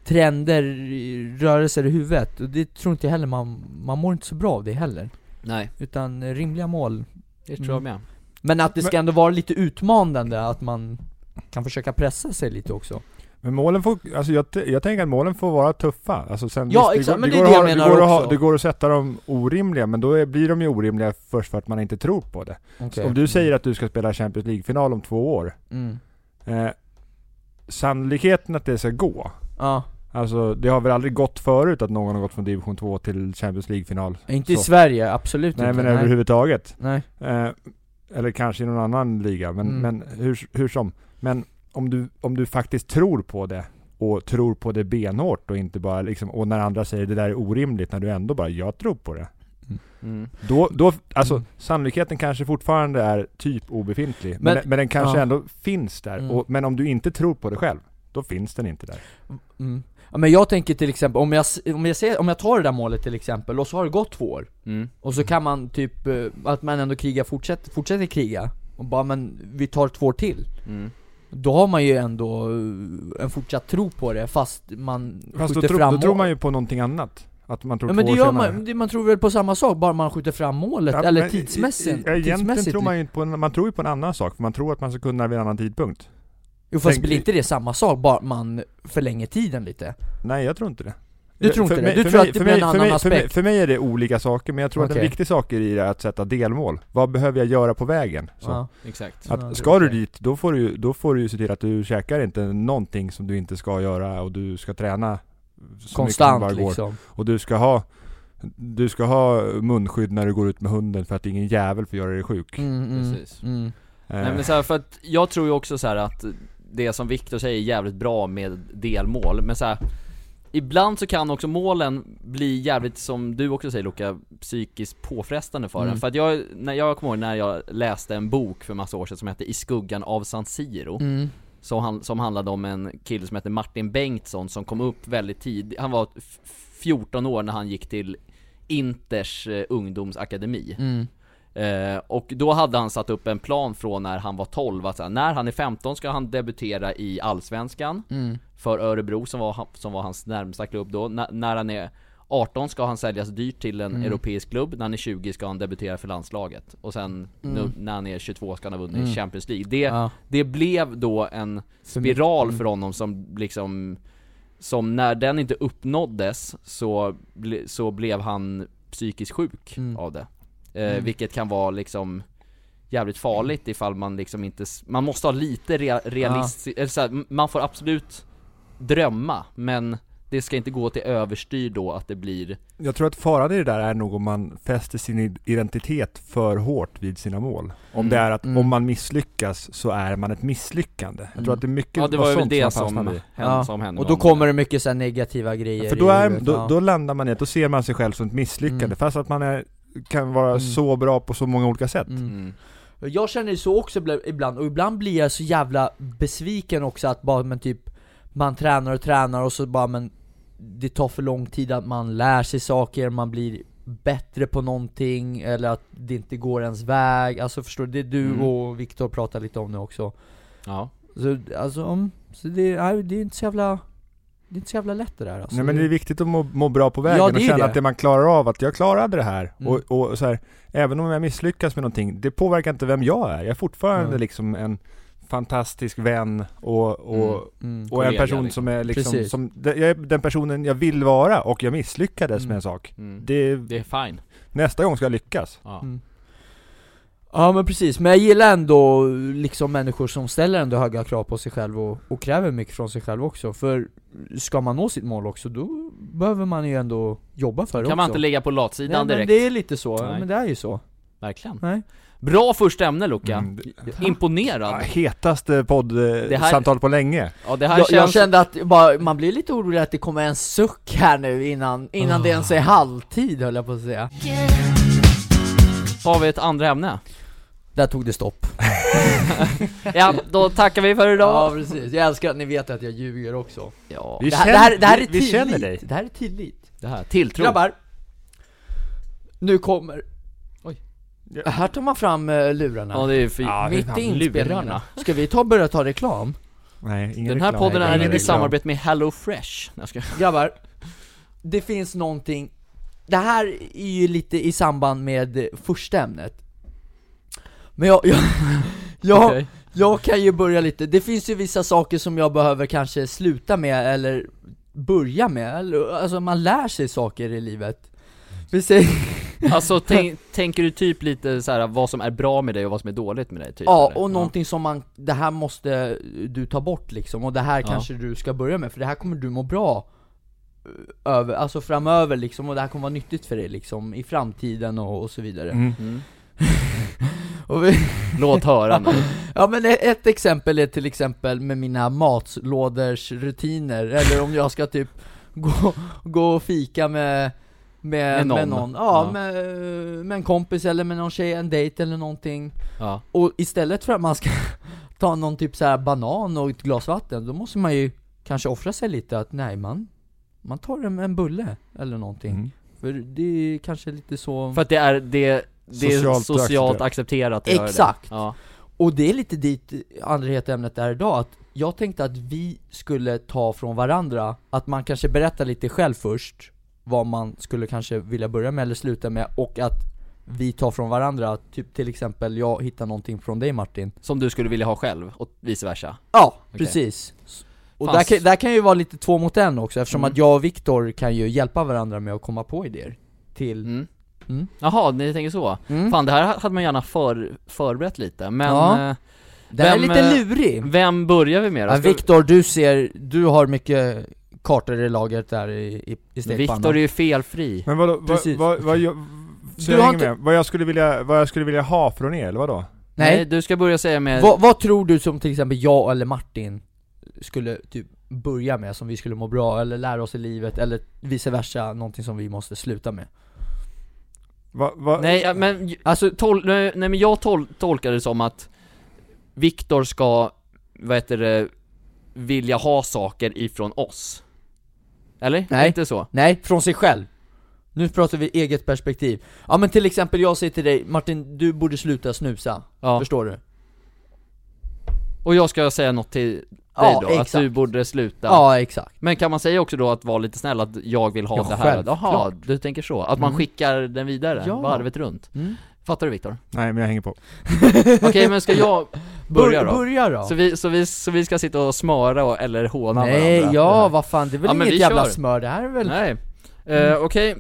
trender, i- rörelser i huvudet och det tror inte jag heller man, man mår inte så bra av det heller
nej,
Utan eh, rimliga mål
det tror jag
Mm.
med.
Men att det ska ändå vara lite utmanande, att man kan försöka pressa sig lite också
Men målen får, alltså jag, t- jag tänker att målen får vara tuffa. Alltså sen,
Ja,
visst,
exakt,
går-
men det
går
är
att
det
ha-
jag menar
går att ha-
också.
Det går att sätta dem orimliga, men då är, blir de ju orimliga först för att man inte tror på det. Så Om du säger att du ska spela Champions League-final om två år,
mm.
eh, sannolikheten att det ska gå,
Ja,
alltså det har väl aldrig gått förut att någon har gått från division 2 till Champions League-final?
inte i
Så.
Sverige, absolut
Nej
Typ inte
men överhuvudtaget.
Nej,
Eh, eller kanske i någon annan liga, men,
Mm.
men hur, hur som. Men om du, om du faktiskt tror på det och tror på det benhårt och inte bara liksom, och när andra säger det där är orimligt, när du ändå bara jag tror på det.
Mm.
Då, då alltså
Mm.
sannolikheten kanske fortfarande är typ obefintlig, men,
Men-
men, den kanske
ja.
ändå finns där.
Mm.
Och, men om du inte tror på det själv, då finns den inte där.
Mm. Ja, men jag tänker till exempel, om jag, s- om, jag ser, om jag tar det där målet till exempel, och så har det gått två år
Mm.
Och så kan man typ, eh, att man ändå krigar, fortsätter, fortsätter kriga Och bara men, vi tar två år till
Mm.
Då har man ju ändå eh, en fortsatt tro på det fast man
Fast då,
skjuter
tro,
fram
då tror man
ju
ju på någonting annat. Att man tror
Ja men det
två år
gör
senare.
man, det, man tror väl på samma sak, bara man skjuter fram målet,
Ja,
eller
men i- i-
tidsmässigt,
ja, Egentligen
tidsmässigt
tror man ju inte på, en, man tror ju på en annan sak, för man tror att man ska kunna vid en annan tidpunkt.
Jo fast
Tänk-
blir inte det samma sak, bara man förlänger tiden lite?
Nej, jag tror inte det. Eh,
Du tror
För
inte
mig-
det? Du
för
tror
mig-
att det
för
blir
mig-
en
för
annan
mig- för mig-
aspekt?
För mig är det olika saker, men jag tror att en
Okej.
viktig sak i det är att sätta delmål. Vad behöver jag göra på vägen? Så.
Ja.
Exakt.
Ja, det är
Att ska du
okej.
dit, då får du, ju- då får du ju se till att du käkar inte någonting som du inte ska göra och du ska träna så mycket som bara
Konstant
går.
liksom.
Och du ska ha du ska ha munskydd när du går ut med hunden för att ingen jävel får göra dig sjuk.
Mm, mm,
Precis.
Mm.
Eh,
Nej men så här, för att jag tror ju också så här att det som Viktor säger är jävligt bra med delmål, men så här, Ibland så kan också målen bli jävligt, som du också säger Luka, psykiskt påfrestande för
Mm.
en. För att jag, när jag kommer ihåg när jag läste en bok för massa år sedan som hette I skuggan av San Siro
Mm.
som, han, som handlade om en kille som hette Martin Bengtsson som kom upp väldigt tidigt, han var f- 14 år när han gick till Inters eh, ungdomsakademi.
Mm.
Eh, och då hade han satt upp en plan från när han var 12, att så här, när han är 15 ska han debutera i Allsvenskan
Mm.
för Örebro som var, ha- som var hans närmsta klubb då. N- när han är 18 ska han säljas dyrt till en
Mm.
europeisk klubb, när han är 20 ska han debutera för landslaget. Och sen nu, när han är 22 ska han ha vunnit Champions League. Det,
Mm. Ja. Mm.
det blev då en spiral för honom som liksom som när den inte uppnåddes så, ble, så blev han psykiskt sjuk
Mm.
av det. Eh, Vilket kan vara liksom jävligt farligt ifall man liksom inte, s- man måste ha lite rea, realistiskt, eller så här, m- man får absolut drömma men det ska inte gå till överstyr då att det blir
Jag tror att faran i det där är nog om man fäster sin id- identitet för hårt vid sina mål. Om
Mm.
det är att
Mm.
om man misslyckas så är man ett misslyckande. Jag tror
Mm.
att det är mycket
Ja det var väl
sånt
det
man
som,
fastnar
hände
i.
Ja.
som hände
Och
med
då
honom.
kommer det mycket så här negativa grejer
Ja, för då,
i
är,
huvudet,
då,
ja.
då landar man i att då ser man sig själv som ett misslyckande
Mm.
fast att man är, kan vara
Mm.
så bra på så många olika sätt.
Mm.
mm.
Jag känner ju så också ibla- ibland, och ibland blir jag så jävla besviken också att bara men typ Man tränar och tränar och så bara men Det tar för lång tid att man lär sig saker, man blir bättre på någonting eller att det inte går ens väg, alltså förstår du? Det du
Mm.
och Viktor pratar lite om nu också
Ja,
Så alltså, om, så det, nej, det är inte så jävla Det är inte så jävla lätt det där alltså
Nej men det är viktigt att må, må bra på vägen
Ja, det
och
är ju
känna
det.
att det man klarar av, att jag klarade det här.
Mm.
Och, och så här, även om jag misslyckas med någonting, det påverkar inte vem jag är. Jag är fortfarande
Mm.
liksom en fantastisk vän och, och,
Mm.
mm.
och en
Kollega,
person
liksom.
som är liksom,
Precis.
som, det- jag är den personen jag vill vara och jag misslyckades
Mm.
med en sak.
mm. Det,
Det,
är fine
nästa gång ska jag lyckas.
ja.
Mm. Ja men precis, men jag gillar ändå liksom människor som ställer ändå höga krav på sig själv och, och kräver mycket från sig själv också För ska man nå sitt mål också, då behöver man ju ändå jobba för det
Kan
också
man inte ligga på
Nej, men
latsidan direkt?
det är lite så,
Nej.
men det är ju så
Verkligen
Nej.
Bra första ämne Luca,
Mm, det- Ja,
imponerad
hetaste
Det här-
poddsamtal på länge.
Ja det här
jag, jag
känns
kände att bara, man blir lite orolig att det kommer en suck här nu innan, innan det ens är halvtid höll jag på att säga
Har vi ett andra ämne?
Där tog det stopp
Ja, då tackar vi för
Ja
idag!
precis, jag älskar att ni vet att jag ljuger också
Ja,
Vi
Det här,
känner-
det här, det här är
vi- vi
tillit,
känner dig.
det här är tillit
det här, tilltro
Grabbar, nu kommer...
Oj.
Ja.
Här tar man fram eh, lurarna.
Ja det är för...
Ja, det är
Mitt
fan
i inspelningarna.
lurarna.
Ska vi ta, börja ta reklam?
Nej, ingen
Den här
reklam.
podden
Nej,
är
ingen
i
reklam.
samarbete med Hello Fresh Nej, jag ska...
Grabbar, det finns någonting... Det här är ju lite i samband med eh, första ämnet. Men jag... (laughs) jag Jag,
(laughs) Okej.
jag kan ju börja lite, det finns ju vissa saker som jag behöver kanske sluta med eller börja med, eller, alltså man lär sig saker i livet Vi säger,
Alltså tänk, tänker du typ lite så här vad som är bra med dig och vad som är dåligt med dig? Typ,
Ja,
eller?
och någonting som man, det här måste du ta bort liksom, och det här
Ja.
kanske du ska börja med, för det här kommer du må bra eh, över, alltså framöver liksom, och det här kommer vara nyttigt för dig liksom, i framtiden och, och så vidare.
Mm.
Mm.
Och vi, (laughs)
Låt höra nu
ja men e- ett exempel är till exempel med mina matlådors rutiner, eller om jag ska typ (laughs) gå, gå och fika med med,
Med
med
någon.
någon, Ja,
Ja.
Med, med en kompis eller med någon tjej, en dejt eller någonting
ja.
Och istället för att man ska (laughs) ta någon typ så här banan och ett glas vatten, då måste man ju kanske offra sig lite att nej man, man tar en, en bulle eller någonting.
Mm.
För det är kanske lite så...
För att det är, det, det är socialt,
Socialt
socialt
accepterat.
accepterat att göra det.
Exakt.
Ja.
Och det är lite dit andra heta ämnet är idag, att jag tänkte att vi skulle ta från varandra, att man kanske berättar lite själv först, vad man skulle kanske vilja börja med eller sluta med, och att vi tar från varandra, typ till exempel jag hittar någonting från dig Martin.
Som du skulle vilja ha själv, och vice versa
Ja,
Okej.
precis. Och där
Fast-
kan, där kan ju vara lite två mot en också eftersom
Mm.
att jag och Viktor kan ju hjälpa varandra med att komma på idéer till...
Mm.
Mm.
Jaha, ni tänker så?
Mm.
Fan det här hade man gärna för, förberett lite, men
Ja.
eh,
Det här är
vem,
lite
eh,
lurig!
vem börjar vi med då?
Ja,
Ska vi-
Viktor, du ser, du har mycket kartor i lagret där i, i, i stekpannan
Viktor är ju felfri
Men vadå, vad,
Precis.
vad, vad, jag-
Du
så jag
har
hänger
inte-
med. Vad jag skulle vilja, vad jag skulle vilja ha från er, eller vadå?
Nej.
Nej,
du ska börja säga med...
vad, vad tror du som till exempel jag eller Martin skulle typ börja med som vi skulle må bra eller lära oss i livet eller vice versa, någonting som vi måste sluta med?
Va, va,
Nej ja, men, alltså, tol... nej nej, men jag tol... tolkar det som att Viktor ska, vad heter det, vilja ha saker ifrån oss Eller?
Nej.
Inte så?
Nej, från sig själv. Nu pratar vi eget perspektiv. Ja men till exempel jag säger till dig Martin, du borde sluta snusa.
Ja.
Förstår du?
Och jag ska säga något till dig
Ja,
då,
exakt.
att du borde sluta
Ja exakt.
Men kan man säga också då att vara lite snäll, att jag vill ha
Ja,
det här?
självklart.
Jaha, du tänker så? Att man
Mm.
skickar den vidare,
Ja.
varvet runt?
Mm.
Fattar
(laughs)
du Viktor?
Nej, men jag hänger på.
Okej men ska jag börja då?
Börja då.
Så vi, så, vi, så vi ska sitta och smöra och, eller håna
Nej,
varandra?
ja vad fan, det är väl
Ja, men
inget
vi
jävla
kör.
smör, det här är väl...
Nej. Eh, Okej,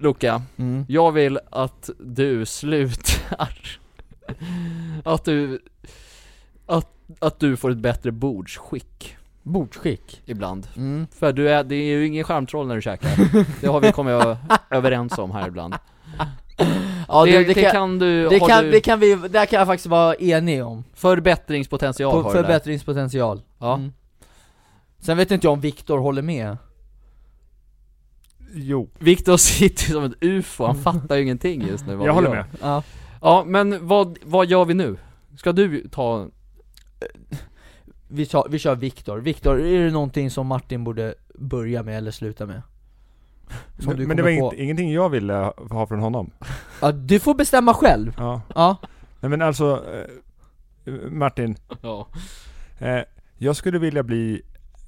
Luca.
Mm.
Jag vill att du slutar. att du... Att, att du får ett bättre bordsskick
Bordsskick.
ibland.
Mm.
För du är, det är ju ingen charmtroll när du käkar. Det har vi kommit ö- överens om här ibland.
Ja,
det,
du,
det, kan, du,
Det
har
kan,
du
det kan vi, där kan jag faktiskt vara enig om,
förbättringspotential
på
har du där.
förbättringspotential
Ja.
Mm. Sen vet inte jag om Viktor håller med
Jo,
Viktor sitter som ett ufo, han fattar ju ingenting just nu vad
jag
vi
håller
gör.
med.
ja.
Ja, men vad, vad gör vi nu? Ska du ta...
vi, tar, vi kör Viktor, Viktor, är det någonting som Martin borde börja med eller sluta
(laughs)
med? Som du
Men det
kommer
var inget,
på?
ingenting jag ville ha från honom.
Ja, du får bestämma själv!
Ja.
Ja,
Nej men alltså, eh, Martin.
Ja.
Eh, jag skulle vilja bli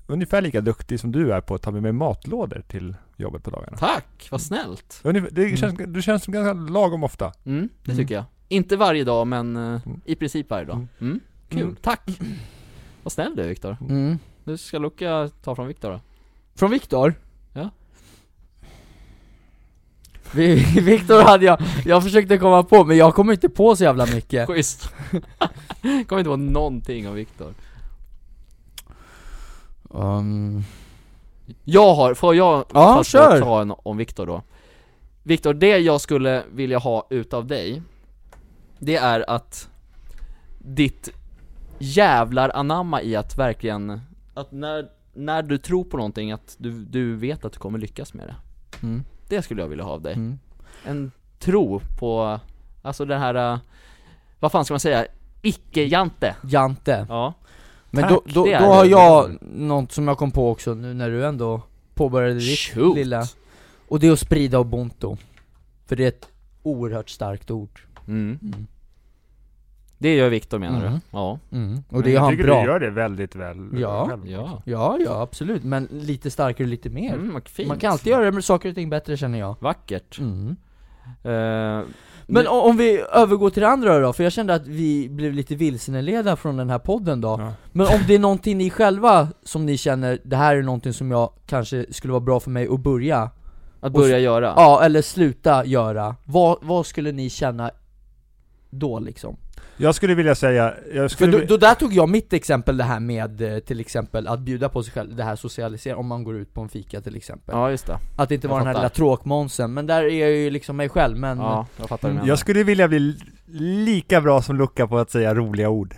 ungefär lika duktig som du är på att ta med mig matlådor till jobbet på dagarna.
Tack, vad snällt.
Ungefär, det känns, Du känns som ganska lagom ofta.
Mm, det
Mm.
tycker jag. Inte varje dag, men eh,
Mm.
i princip varje dag.
Mm.
Mm. Kul,
Mm.
tack. Vad snäll du är Viktor.
mm.
Nu ska Luca ta från
(laughs)
Viktor då.
Från Viktor?
Ja.
Vi- (laughs) Viktor hade jag, jag försökte komma på men jag kommer inte på så jävla mycket
Schysst. (laughs) kommer inte vara någonting om Viktor.
um,
Jag har, får jag
Ja,
passa
kör.
att ta en om Viktor då? Viktor, det jag skulle vilja ha utav dig, det är att ditt jävlar anamma i att verkligen, att när, när du tror på någonting, att du, du vet att du kommer lyckas med det.
mm,
Det skulle jag vilja ha av dig.
mm.
En tro på, alltså den här, eh, vad fan ska man säga, icke-jante.
Jante
Ja.
Men
Tack,
då, då,
det är
då har
det.
jag något som jag kom på också nu när du ändå påbörjade ditt
Shoot.
lilla Och det är att sprida ubuntu För det är ett oerhört starkt ord
Mm.
Mm.
Det gör Viktor menar
Mm.
du? Ja.
Och det
Men
är
jag
han
tycker du
bra
gör det väldigt väl
Ja.
själv.
Ja.
Ja, ja absolut, men lite starkare, lite mer
Mm, vad fint.
Man kan alltid göra med saker och ting bättre känner jag
Vackert.
mm.
Eh,
Men
nu-
o- om vi övergår till det andra då, för jag kände att vi blev lite vilsenledda från den här podden då
Ja.
Men om det är någonting ni själva, som ni känner, det här är någonting som jag kanske skulle vara bra för mig att börja
att börja göra?
Ja, eller sluta göra. Vad, vad skulle ni känna då liksom?
Jag skulle vilja säga, jag
För
skulle
då,
vi-
då där tog jag mitt exempel det här med eh, till exempel att bjuda på sig själv, det här socialisera, om man går ut på en fika till exempel.
Ja, just det.
Att inte
jag
vara den här
fattar.
lilla tråkmånsen, men där är jag ju liksom mig själv men...
Ja, jag fattar
Mm.
mm.
jag skulle vilja bli li- lika bra som Luca på att säga roliga ord.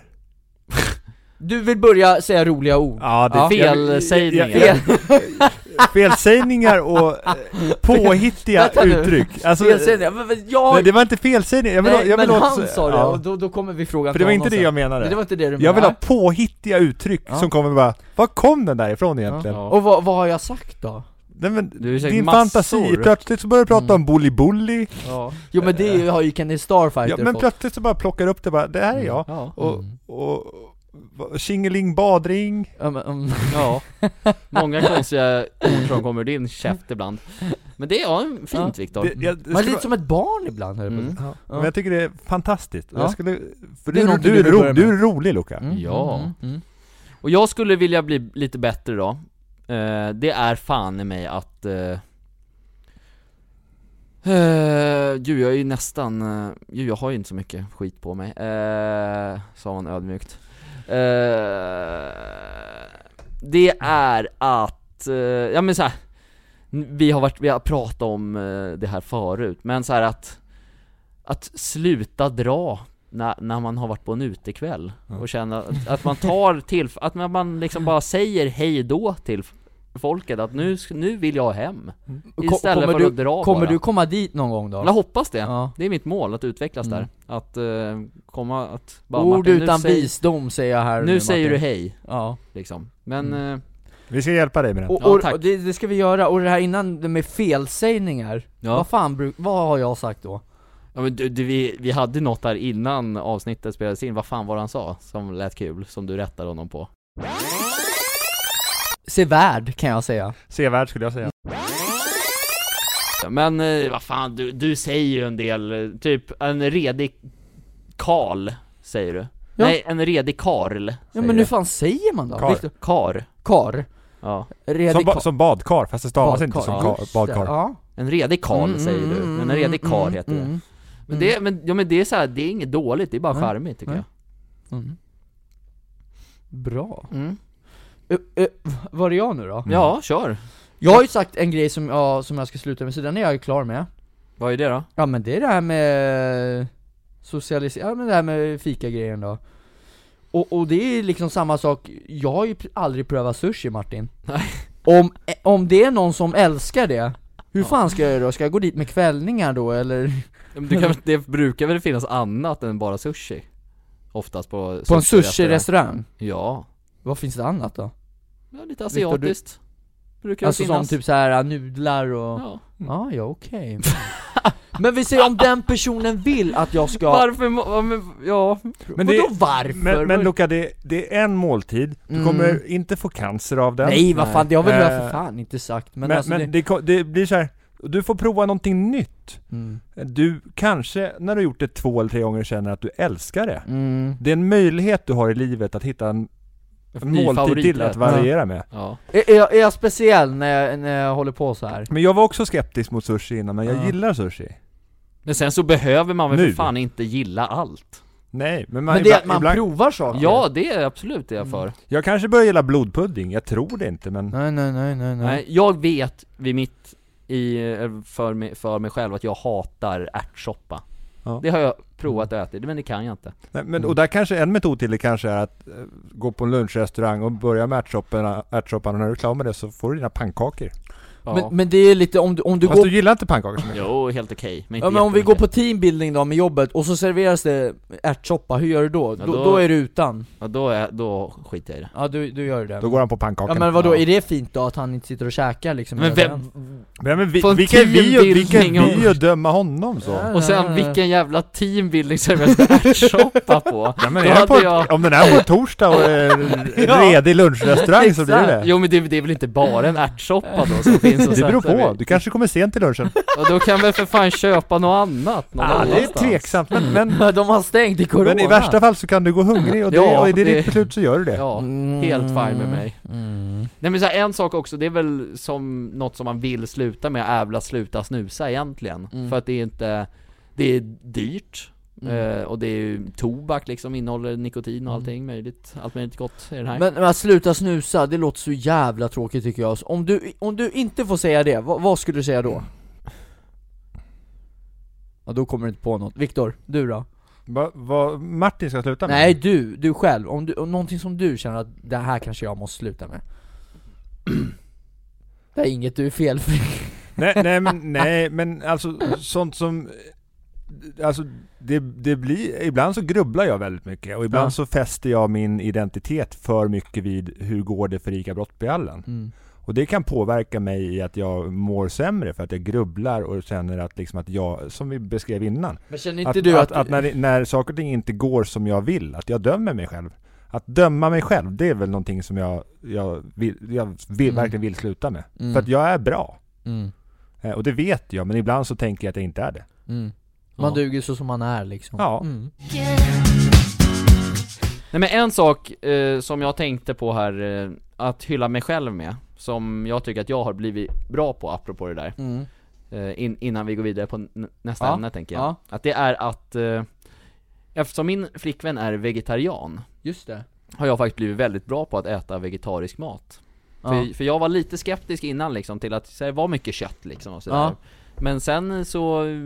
Du vill börja säga roliga ord?
Ja, det
Ja.
Felsägningar.
jag- jag- (laughs) Felsägningar och
(laughs)
eh, påhittiga
Vänta nu.
uttryck. Alltså,
Felsägningar? Men, men jag...
Nej, det var inte felsägning, jag vill, ha-
Nej,
jag vill
men
ha-
han sa det,
ja.
och då, då kommer vi frågan
För det var
till
inte det
honom
jag
sen.
menade.
Det var inte det du
jag vill ha
menade?
påhittiga uttryck
Ja.
som kommer bara, var kom den där ifrån egentligen?
Ja.
Och vad, vad har jag sagt då?
Nej, men,
Du är säkert
din
massor.
fantasi, plötsligt så börjar du prata
Mm.
om bully-bully,
Ja.
Jo men det har ju Kenny Starfighter
Eh. ja, men
fått.
plötsligt så bara plockar du upp det bara, det här är jag.
Ja.
Och,
Mm.
och, och tjingeling badring,
Ja, men,
(laughs)
mm.
ja. Många konstiga ord som kommer ur din käft ibland. Men det är ja, fint
Ja.
Viktor.
Det- jag- det
Man är
skulle
lite som ett barn ibland höll jag på att
Mm.
säga.
vara-
Ja.
Men jag tycker det är fantastiskt, Och
Ja.
jag skulle, för
Det är
du,
någonting
du, är
du vill börja
ro,
med.
du är rolig Luca
Mm,
Ja.
mm, mm.
Och Och jag skulle vilja bli lite bättre då eh, Det är fan i mig att eh, eh, Gud jag är ju nästan, eh, gud jag har ju inte så mycket skit på mig, eh, sa hon ödmjukt eh, Det är att, eh, ja men så här, vi har varit, vi har pratat om eh, det här förut, men så här att Att sluta dra när, när man har varit på en utekväll och känna att, att man tar till, att man- man liksom bara säger hej då till f- folket att nu, sk- nu vill jag hem Istället
kommer
för
du,
att dra
Kommer
bara.
du komma dit någon gång då?
Jag hoppas det,
Ja.
det är mitt mål att utvecklas
Mm.
där Att eh, komma, att bara
Ord
Martin,
utan
nu, säg-
visdom säger jag här
nu säger du
Martin. Mm.
hej
Ja,
liksom Men, eh,
Vi ska hjälpa dig med den.
och,
Ja,
och,
tack.
och det, det ska vi göra, och det här innan det med felsägningar,
ja,
vad fan bruk, vad har jag sagt då?
ja men du, du, vi, vi hade något där innan avsnittet spelades in, vad fan var det han sa som lät kul, som du rättade honom på?
Se värd kan jag säga
Sevärd skulle jag säga.
Men eh, vad fan, du, du säger ju en del, eh, typ en redig karl, säger du? Nej, en redig karl,
Ja
säger
men
du.
hur fan säger man då?
Karl.
Viktor-
Kar,
Kar,
ja
redig
Som, ba-
kar-
som badkar, fast det stavas inte
badkar.
som
Ja,
kar,
just det.
badkar.
Ja.
En redig karl
Mm,
säger
mm,
du, men en
mm,
redig karl
mm,
heter det
mm,
Men
mm.
det, men, ja, men det är så här, det är inget dåligt, det är bara
Nej.
charmigt tycker
Nej. Mm. Bra.
jag mm.
Ö, ö, var är jag nu då?
Ja, kör!
Jag har ju sagt en grej som jag, som jag ska sluta med, så den är jag ju klar med
Vad är det då?
Ja men det är det här med socialisering, ja men det här med fika-grejen då och, och det är liksom samma sak, jag har ju pr- aldrig prövat sushi Martin
Nej.
Om, eh, om det är någon som älskar det, hur fan ska jag göra då? Ska jag gå dit med kvällningar då eller?
Men Du kan, väl- det brukar väl finnas annat än bara sushi? Oftast på
På en
sushi-restaurang.
sushi-restaurang?
Ja,
Vad finns det annat då?
ja lite
Viktor, du-
asiatiskt Brukar
Alltså
det finnas
som typ så här nudlar och...
ja.
Ah, ja okej Men vi ser om den personen vill att jag ska...
Varför, må- ja, men, ja,
Men
Men det-
Vadå varför?
Men, men Luca, det, det är en måltid, du
Mm.
kommer inte få cancer av den.
Nej vad fan, det har väl jag för
Eh,
fan inte sagt men,
men, men,
alltså det...
det... ko- det blir så här. du får prova någonting nytt.
Mm.
Du kanske, när du har gjort det två eller tre gånger, känner att du älskar det.
Mm.
Det är en möjlighet du har i livet att hitta en
Ny
måltid till
favoriträtt.
att variera med.
ja.
Är, är, jag, är jag speciell när jag, när jag håller på så här?
Men jag var också skeptisk mot sushi innan, men jag
Ja.
gillar sushi.
Men sen så behöver man väl
Nu.
för fan inte gilla allt?
Nej, men man,
Men det är
ibland,
att man
ibland,
provar saker?
Ja, det är absolut det
Mm.
jag för
jag kanske börjar gilla blodpudding, jag tror det inte men...
Nej nej nej nej
Nej, jag vet vid mitt, i, eh, för, mig, för mig själv att jag hatar ärtsoppa
Ja. Mm.
Det har jag provat att äta, men det kan jag inte
Nej, men,
Mm.
och där kanske en metod till det kanske är att eh, gå på en lunchrestaurang och börja med ärtsopporna, ärtsoppan och när du är klar med det så får du dina pannkakor.
ja.
Men, men det är lite om du, om du
Fast
går
du gillar inte pannkakor så mycket.
Jo, helt okej, men inte
Ja men om vi går på
jättemycket.
teambuilding då med jobbet och så serveras det ärtsoppa, hur gör du då?
Ja,
då?
då-
Då är du utan?
ja, då, är, då skiter jag i det
Ja du, du gör det
Då går han på
Ja
pannkakan.
men vadå,
Ja.
är det fint då att han inte sitter och käkar liksom?
Men
hela
vem,
dagen?
men, men vi,
På en
vilka är vi, och, vilka är
teambuilding
vi att döma honom så?
Ja.
och sen vilken jävla teambuilding som jag ska ärtsoppa
(laughs)
på?
Ja, men
Då
är det
hade
på,
jag-
Om den är på torsdag
(laughs)
och är redig lunchrestaurang så blir det
Jo men det, det är väl inte bara en ärtsoppa då
(laughs)
som finns och
det. beror
sätter
på,
i?
du kanske kommer sent till lunchen.
Ja, då kan väl för fan köpa något annat någon
Ah, det är
annanstans.
tveksamt men,
(laughs)
men,
De har stängt i corona
men i värsta fall så kan du gå hungrig och, det,
Ja,
och är det,
det-
ditt beslut så gör du det.
Ja,
Mm.
helt fine med mig
Mm.
Nej men så här, en sak också, det är väl som något som man vill sluta med, är väl att sluta snusa egentligen.
Mm.
För att det är inte, det är dyrt.
Mm.
Eh, och det är ju tobak liksom, innehåller nikotin och
Mm.
allting möjligt, allt möjligt gott i den här.
Men, men att sluta snusa, det låter så jävla tråkigt tycker jag Om du, om du inte får säga det, vad, vad skulle du säga då? Ja då kommer du inte på något, Viktor, du då?
Vad vad Martin ska sluta med?
Nej du, du själv, om du, om någonting som du känner att det här kanske jag måste sluta med (clears throat) Det är inget du är felfri
nej, nej, men, nej, men alltså sånt som... Alltså det, det blir, ibland så grubblar jag väldigt mycket och ibland
Ja.
så fäster jag min identitet för mycket vid hur går det för Ica Brottbyallen.
mm.
Och det kan påverka mig i att jag mår sämre för att jag grubblar och känner att liksom att jag, som vi beskrev innan,
Men känner inte
att,
du
att,
att,
att när, när saker och ting inte går som jag vill, att jag dömer mig själv. Att döma mig själv, det är väl någonting som jag, jag, vill, jag vill,
Mm.
verkligen vill sluta med.
Mm.
För att jag är bra.
mm.
Eh, Och det vet jag, men ibland så tänker jag att jag inte är det.
Mm. Man
Ja.
duger så som man är liksom
Ja.
mm.
Yeah.
Nej Nej men en sak eh, som jag tänkte på här, eh, att hylla mig själv med, som jag tycker att jag har blivit bra på apropå det där,
Mm.
eh, in, innan vi går vidare på n- nästa
Ja,
ämne tänker jag.
ja.
Att det är att, eh, eftersom min flickvän är vegetarian,
Just det.
har jag faktiskt blivit väldigt bra på att äta vegetarisk mat.
Ja.
För, för jag var lite skeptisk innan liksom till att så här, det var mycket kött liksom och sådär.
Ja.
Men sen så eh,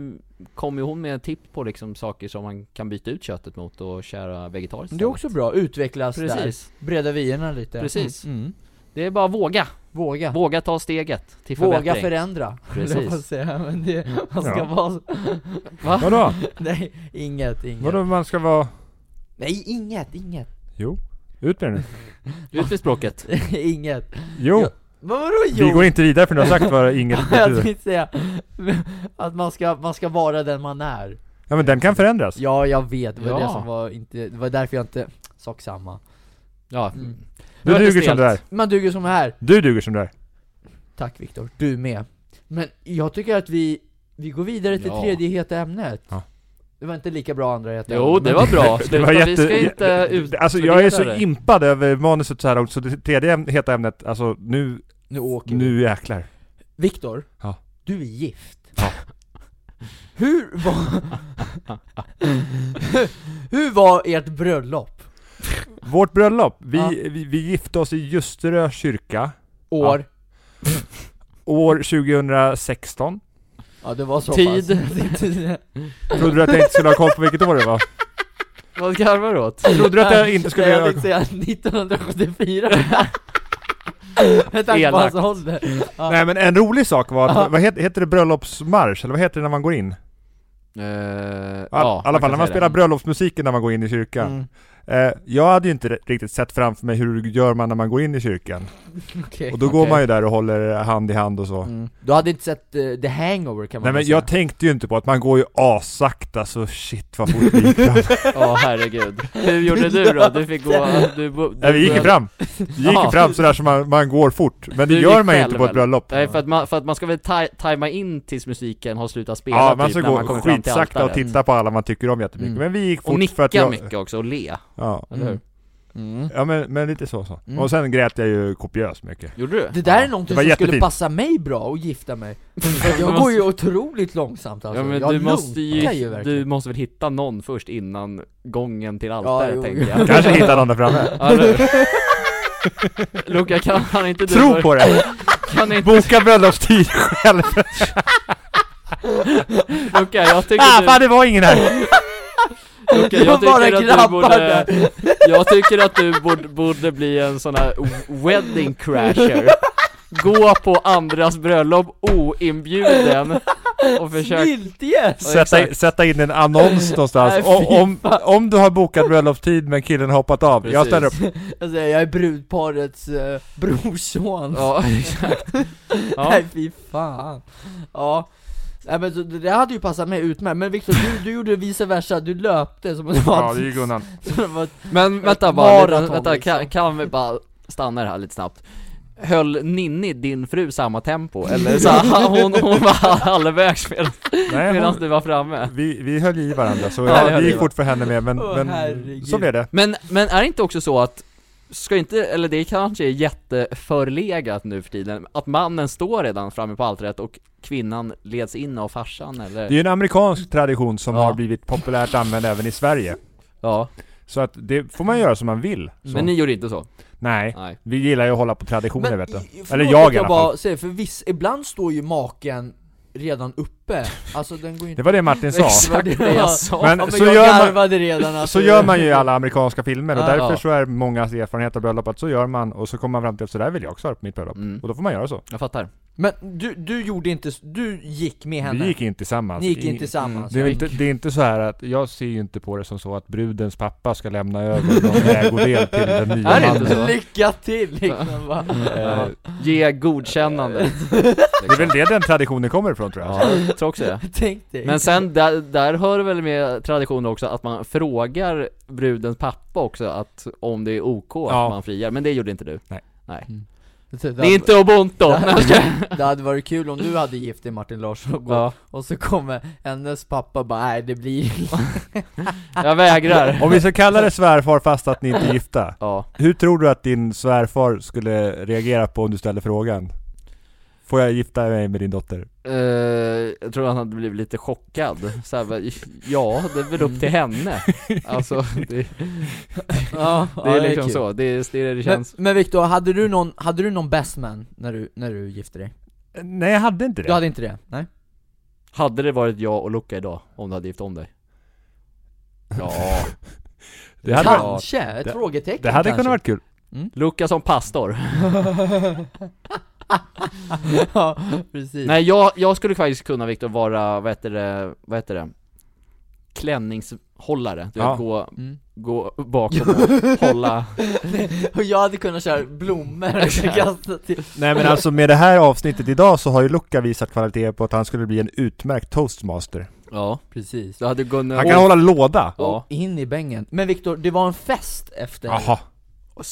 kom ju hon med tips på liksom saker som man kan byta ut köttet mot och köra vegetariskt
Det är också bra, utvecklas där.
Precis,
Breda vyerna lite.
Precis.
Mm.
det är bara att våga,
Våga.
våga ta steget till
Våga
förbättring
förändra. (laughs)
Precis.
höll jag på att säga, men det, man ska
Ja.
vara så-
Vadå?
Nej, inget, inget.
Vadå man ska vara...
Nej, inget, inget. (laughs)
Jo. Ut med det nu.
Ut med språket!
inget.
Jo.
Men vadå jo?
Vi går inte vidare för du har sagt vad inget
(laughs) jag
betyder.
tänkte säga, (laughs) att man ska, man ska vara den man är.
Ja men den kan förändras.
Ja, jag vet. Det var
Ja.
det som var inte, det var därför jag inte, sak samma.
Ja,
Mm.
Du
Det var
duger
lite
som du är.
stelt.
Man duger som här.
Du duger som du är.
Tack Viktor, du med. Men jag tycker att vi, vi går vidare till
Ja.
tredje heta ämnet.
Ja.
Det var inte lika bra andra heta
jo
ämnet,
det
men-
var bra,
Det
sluta,
var
vi
jätte-
ska inte ut...
det- Alltså jag är så
det.
impad över manuset så här långt, så det tredje äm- heta ämnet, alltså nu,
(laughs) Nu åker vi.
nu jäklar.
Viktor,
Ja.
du är gift.
Ja.
(laughs) Hur var... (laughs) Hur var ert bröllop?
Vårt bröllop, vi,
Ja.
vi, vi gifte oss i Ljusterö kyrka
År?
år 2016.
Ja, det var så (laughs)
Tid.
(laughs)
pass.
Trodde du att jag inte skulle ha koll på vilket år det var?
Vad garvar du åt?
Trodde du att jag inte skulle
Jag
ha
tänkte säga
(laughs)
1974. Med tanke på
Elakt.
hans ålder. Ja.
Nej men en rolig sak var att, vad heter, heter det bröllopsmarsch, eller vad heter det när man går in? I
Uh, ja,
all, alla fall när man spelar
bröllop
bröllopsmusiken när man går in i kyrkan.
Mm,
Eh, jag hade ju inte riktigt sett framför mig hur gör man när man går in i kyrkan.
Eh, okej.
Och då går
Okej.
man ju där och håller hand i hand och så.
Mm. Du hade inte sett eh, The Hangover kan
Nej
man
men
väl
jag
säga.
tänkte ju inte på att man går ju assakta så shit vad fort
(laughs)
vi gick fram.
Ja herregud, hur gjorde du då? Du fick gå...
(laughs)
Du, bo-
Nej vi gick ju
du-
fram. Vi gick ju
Ja.
fram sådär som man, man går fort. Men det
Du
gör
gick
man ju inte
själv,
på ett
eller?
bröllop.
Nej för att, man, för att man ska väl taj- tajma in tills musiken har slutat spela
Ja, man
typ,
ska
när man
gå
kommer fram till
skitsakta och
altaret.
titta på alla man tycker om jättemycket.
Mm.
Men vi gick fort
Och
för
nicka
att jag...
mycket också och le,
Ja,
eller hur?
Mm.
ja men, men lite så så.
Mm.
Och sen grät jag ju
(laughs)
kopiöst mycket.
Gjorde du?
Det där
Ja,
är någonting
det var
som skulle
jättefint.
passa mig bra och gifta
(laughs)
mig För (laughs) Jag går ju otroligt långsamt alltså,
ja, men
jag
du måste
lunkar
ju, du
verkligen
måste väl hitta någon först innan gången till
Ja,
altaret
jo. (laughs)
(laughs)
tänker jag
Kanske hittade någon där framme.
Ja, eller hur? (laughs) Luca, kan han inte du
Tro på det!
(laughs) Kan inte
Boka bröllopstid själv!
Luca, jag
Ah
tycker
fan
du,
det var
(laughs)
ingen här!
Luca,
Det var
jag
bara
tycker att
grabbar
du borde
där.
Jag tycker att du borde, borde bli en sån här wedding crasher Gå på andras bröllop oinbjuden och försök
Sniltjes!
Sätta, in-
exakt.
sätta in en annons
Nej,
någonstans.
fy
O- Om, om du har bokat bröllopstid men killen har hoppat av, jag
Precis.
ställer upp.
Alltså, jag är brudparets eh, brorson
Ja, exakt Ja,
Nej fy fan Ja Nej men så, det där hade ju passat mig utmärkt, men Viktor du, du gjorde vice versa, du löpte som det var,
gick undan.
(laughs) som det var
men vänta bara,
Maraton,
lite, vänta,
liksom.
kan, kan vi bara stanna det här lite snabbt? Höll Ninni, din fru, samma tempo? Eller så här, hon, hon var halvvägs medan-
Nej,
medan
hon,
du var framme?
vi, vi höll i varandra så
Ja, vi
jag,
höll
vi
i
gick fort för henne med men,
Åh,
men
herregud.
så blev det.
Men, men är det inte också så att, ska inte, eller det kanske är jätteförlegat nu för tiden, att mannen står redan framme på altaret och kvinnan leds in av farsan eller?
Det är ju en amerikansk tradition som
Ja.
har blivit populärt använd även i Sverige.
Ja,
Så att det får man göra som man vill. Så.
men ni gjorde inte så?
Nej,
Nej.
vi gillar ju att hålla på traditioner vet du.
i- förlåt
Eller jag
att
i alla fall.
bara säger, för viss, ibland står ju maken redan uppe, alltså den går ju
Det
inte
var det Martin sa.
Exakt.
var det
Det jag
jag-
sa!
Men,
Ja, men
så,
jag
gör man,
garvade redan alltså. att
så gör man ju i alla amerikanska filmer och
Ja.
därför så är mångas erfarenhet av bröllop att så gör man och så kommer man fram till att så där vill jag också ha det på mitt bröllop.
Mm,
Och då får man göra så.
jag fattar.
Men du, du gjorde inte, s- du gick med henne?
Vi gick Mm, in tillsammans.
Ni gick
Ing-
in tillsammans?
Det är, inte, det är inte så här att, jag ser ju inte på det som så att brudens pappa ska lämna över någon ägodel till den nya
Är det inte
mannen.
så?
Lycka till liksom va?
Eh, Ge
(laughs)
godkännandet.
Det är väl det den traditionen kommer ifrån tror jag.
Ja, jag tror också det.
Tänk dig
Men sen, där, där hör det väl med traditionen också att man frågar brudens pappa också att om det är OK
Ja.
att man friar, men det gjorde inte du?
Nej.
Nej. Det är inte (laughs) ubuntu!
det,
Nej, jag skojar.
hade, det hade varit kul om du hade gift dig Martin Larsson och, gå,
Ja,
och så kommer hennes pappa bara nej det blir
jag vägrar.
Om vi ska kalla det svärfar fast att ni inte är gifta.
Ja.
Hur tror du att din svärfar skulle reagera på om du ställde frågan? Får jag gifta mig med din dotter?
Eh, jag tror han hade blivit lite chockad, så här, bara, ja det är väl upp till henne Alltså det,
Ja,
det är liksom så, det, är- det, är det det
Men,
känns
men Viktor, hade du någon, hade du någon best man när du, när du gifte dig?
Eh, Nej, jag hade inte det.
Du hade inte det? Nej?
Hade det varit jag och Luca idag, om du hade gift om dig? Ja,
Det hade, varit-
kanske? Ett
det-
frågetecken
det hade
kanske.
kunnat varit kul.
Luca som pastor
ja, precis
Nej jag, jag skulle faktiskt kunna Viktor vara, vad heter det, vad heter det? Klänningshållare, du
Ja.
vet, gå,
Mm. (laughs)
gå bakom och hålla
Och jag hade kunnat köra blommor
(laughs)
och kasta till
Nej men alltså med det här avsnittet idag så har ju Luca visat kvalitet på att han skulle bli en utmärkt toastmaster.
Ja,
Precis
du hade kunnat
Han kan hålla låda.
Ja,
In i bängen Men Viktor, det var en fest efter
Jaha,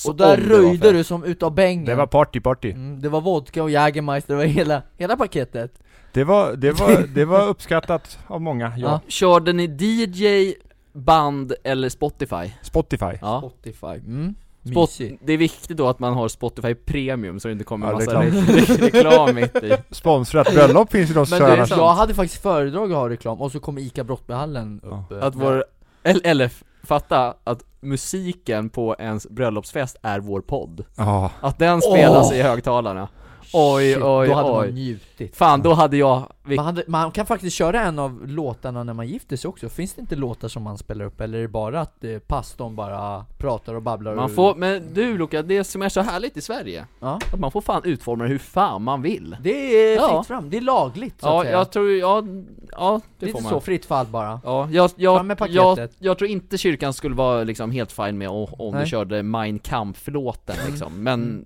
Och där
Om det var
röjde
fest.
du som utav bängen
det var party party.
mm, Det var vodka och Jägermeister, det var hela, hela paketet
Det var, det
(laughs)
var, det var uppskattat av många, ja.
Ja.
Körde ni DJ, band eller Spotify?
Spotify.
Ja
Spotify mm.
Spot
Mysigt
Det är viktigt då att man har Spotify Premium så det inte kommer
Ja,
massa (laughs)
reklam.
reklam, reklam mitt
(laughs)
i
Sponsrat bröllop finns ju de som
Men det är
kör annars.
sant.
Jag hade faktiskt föredrag att ha reklam, och så kom ICA Brottbyhallen upp eh,
Att vår, eller, eller f- fatta att musiken på ens bröllopsfest är vår podd
Ja.
Att den spelas
Åh!
i högtalarna Oj,
Shit,
oj,
då hade
oj.
man njutit
Fan då hade jag, vi,
man, hade, man kan faktiskt köra en av låtarna när man gifter sig också, finns det inte låtar som man spelar upp eller är det bara att eh, pastorn bara pratar och babblar?
man
ur-
får, men du Luca, det som är så härligt i Sverige
Ja.
Att man får fan utforma det hur fan man vill
Det är
Ja.
fritt fram, det är lagligt så
Ja,
att säga.
jag tror, ja, ja det
det är
får
inte
man
så fritt fall bara
Ja, jag,
Fram
jag,
med paketet.
jag, jag tror inte kyrkan skulle vara liksom helt fin med om, om du
Nej. Mm.
körde Mein Kampf-låten liksom, men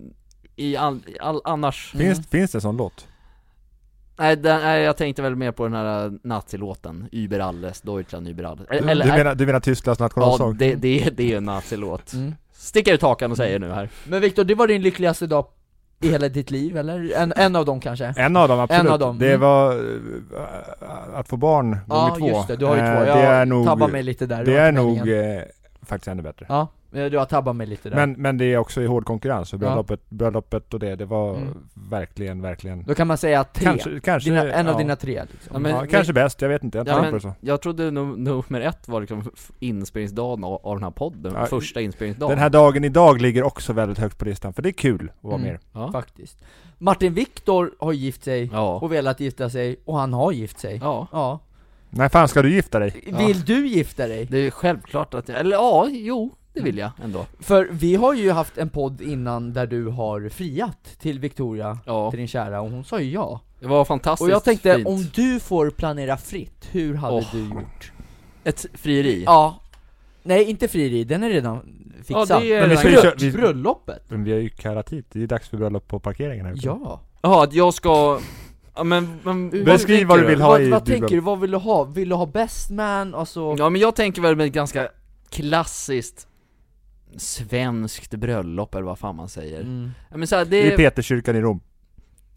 i all, i all, annars
Finns,
Mm.
finns det en sån låt?
nej, den, nej, jag tänkte väl mer på den här eh, nazilåten, Über alles, Deutschland über alles
Du,
Eller,
du, menar, du menar Tysklands
ja,
nationalsång?
det, det, är- det är ju en nazilåt
Mm.
Sticka ut hakan och säger nu här
Men Viktor, det var din lyckligaste dag i hela ditt liv eller? En, en av dem kanske?
En av dem, absolut.
En av dem,
Det
mm.
var eh, att få barn gånger
Ja
två.
just det, du har ju
Eh,
två, jag
det är nog,
tabbar mig lite där
det
var
är
inte
nog
meningen.
eh, faktiskt ännu bättre.
Ja, eh, du har tabbat mig lite där
Men, men det är också i hård konkurrens, så
Ja.
bröllopet, bröllopet och det, det var
Mm.
verkligen, verkligen...
Då kan man säga tre,
Kanske, kanske
dina, en av
ja.
dina tre liksom.
Ja, men-
ja, kanske bäst, jag vet inte, jag
Ja,
tar
men-
på det så.
Jag trodde num- nummer ett var liksom f- inspelningsdagen av, av den här podden,
Ja,
första inspelningsdagen
Den här dagen idag ligger också väldigt högt på listan, för det är kul att vara
Mm.
med
ja.
Faktiskt Martin Viktor har gift sig
Ja.
och velat gifta sig, och han har gift sig
ja,
Ja,
När fan ska du gifta dig?
Vill du gifta dig?
det är självklart att jag, eller ja, jo, det vill jag ändå
För vi har ju haft en podd innan där du har friat till Victoria,
Ja,
till din kära, och hon sa ju ja
det var fantastiskt
Alltså,
Och jag tänkte,
fint.
om du får planera fritt, hur hade
Åh.
du gjort?
Ett frieri?
Ja Nej, inte frieri, den är redan fixad
Ja, det är
Men vi ska ju
redan-
köra- vi-
Bröllopet?
Men vi har ju kallat hit, det är dags för bröllop på parkeringen här ute.
Ja
Jaha, att jag ska... Ja men, men
Beskriv
tänker
vad du vill ha.
Vad,
i
vad
ditt
tänker du,
bröllop.
vad vill du ha? Vill du ha best man, alltså?
Ja men jag tänker väl med ett ganska klassiskt svenskt bröllop eller vad fan man säger
Mm.
ja, men så här,
I
det...
Peterskyrkan i Rom.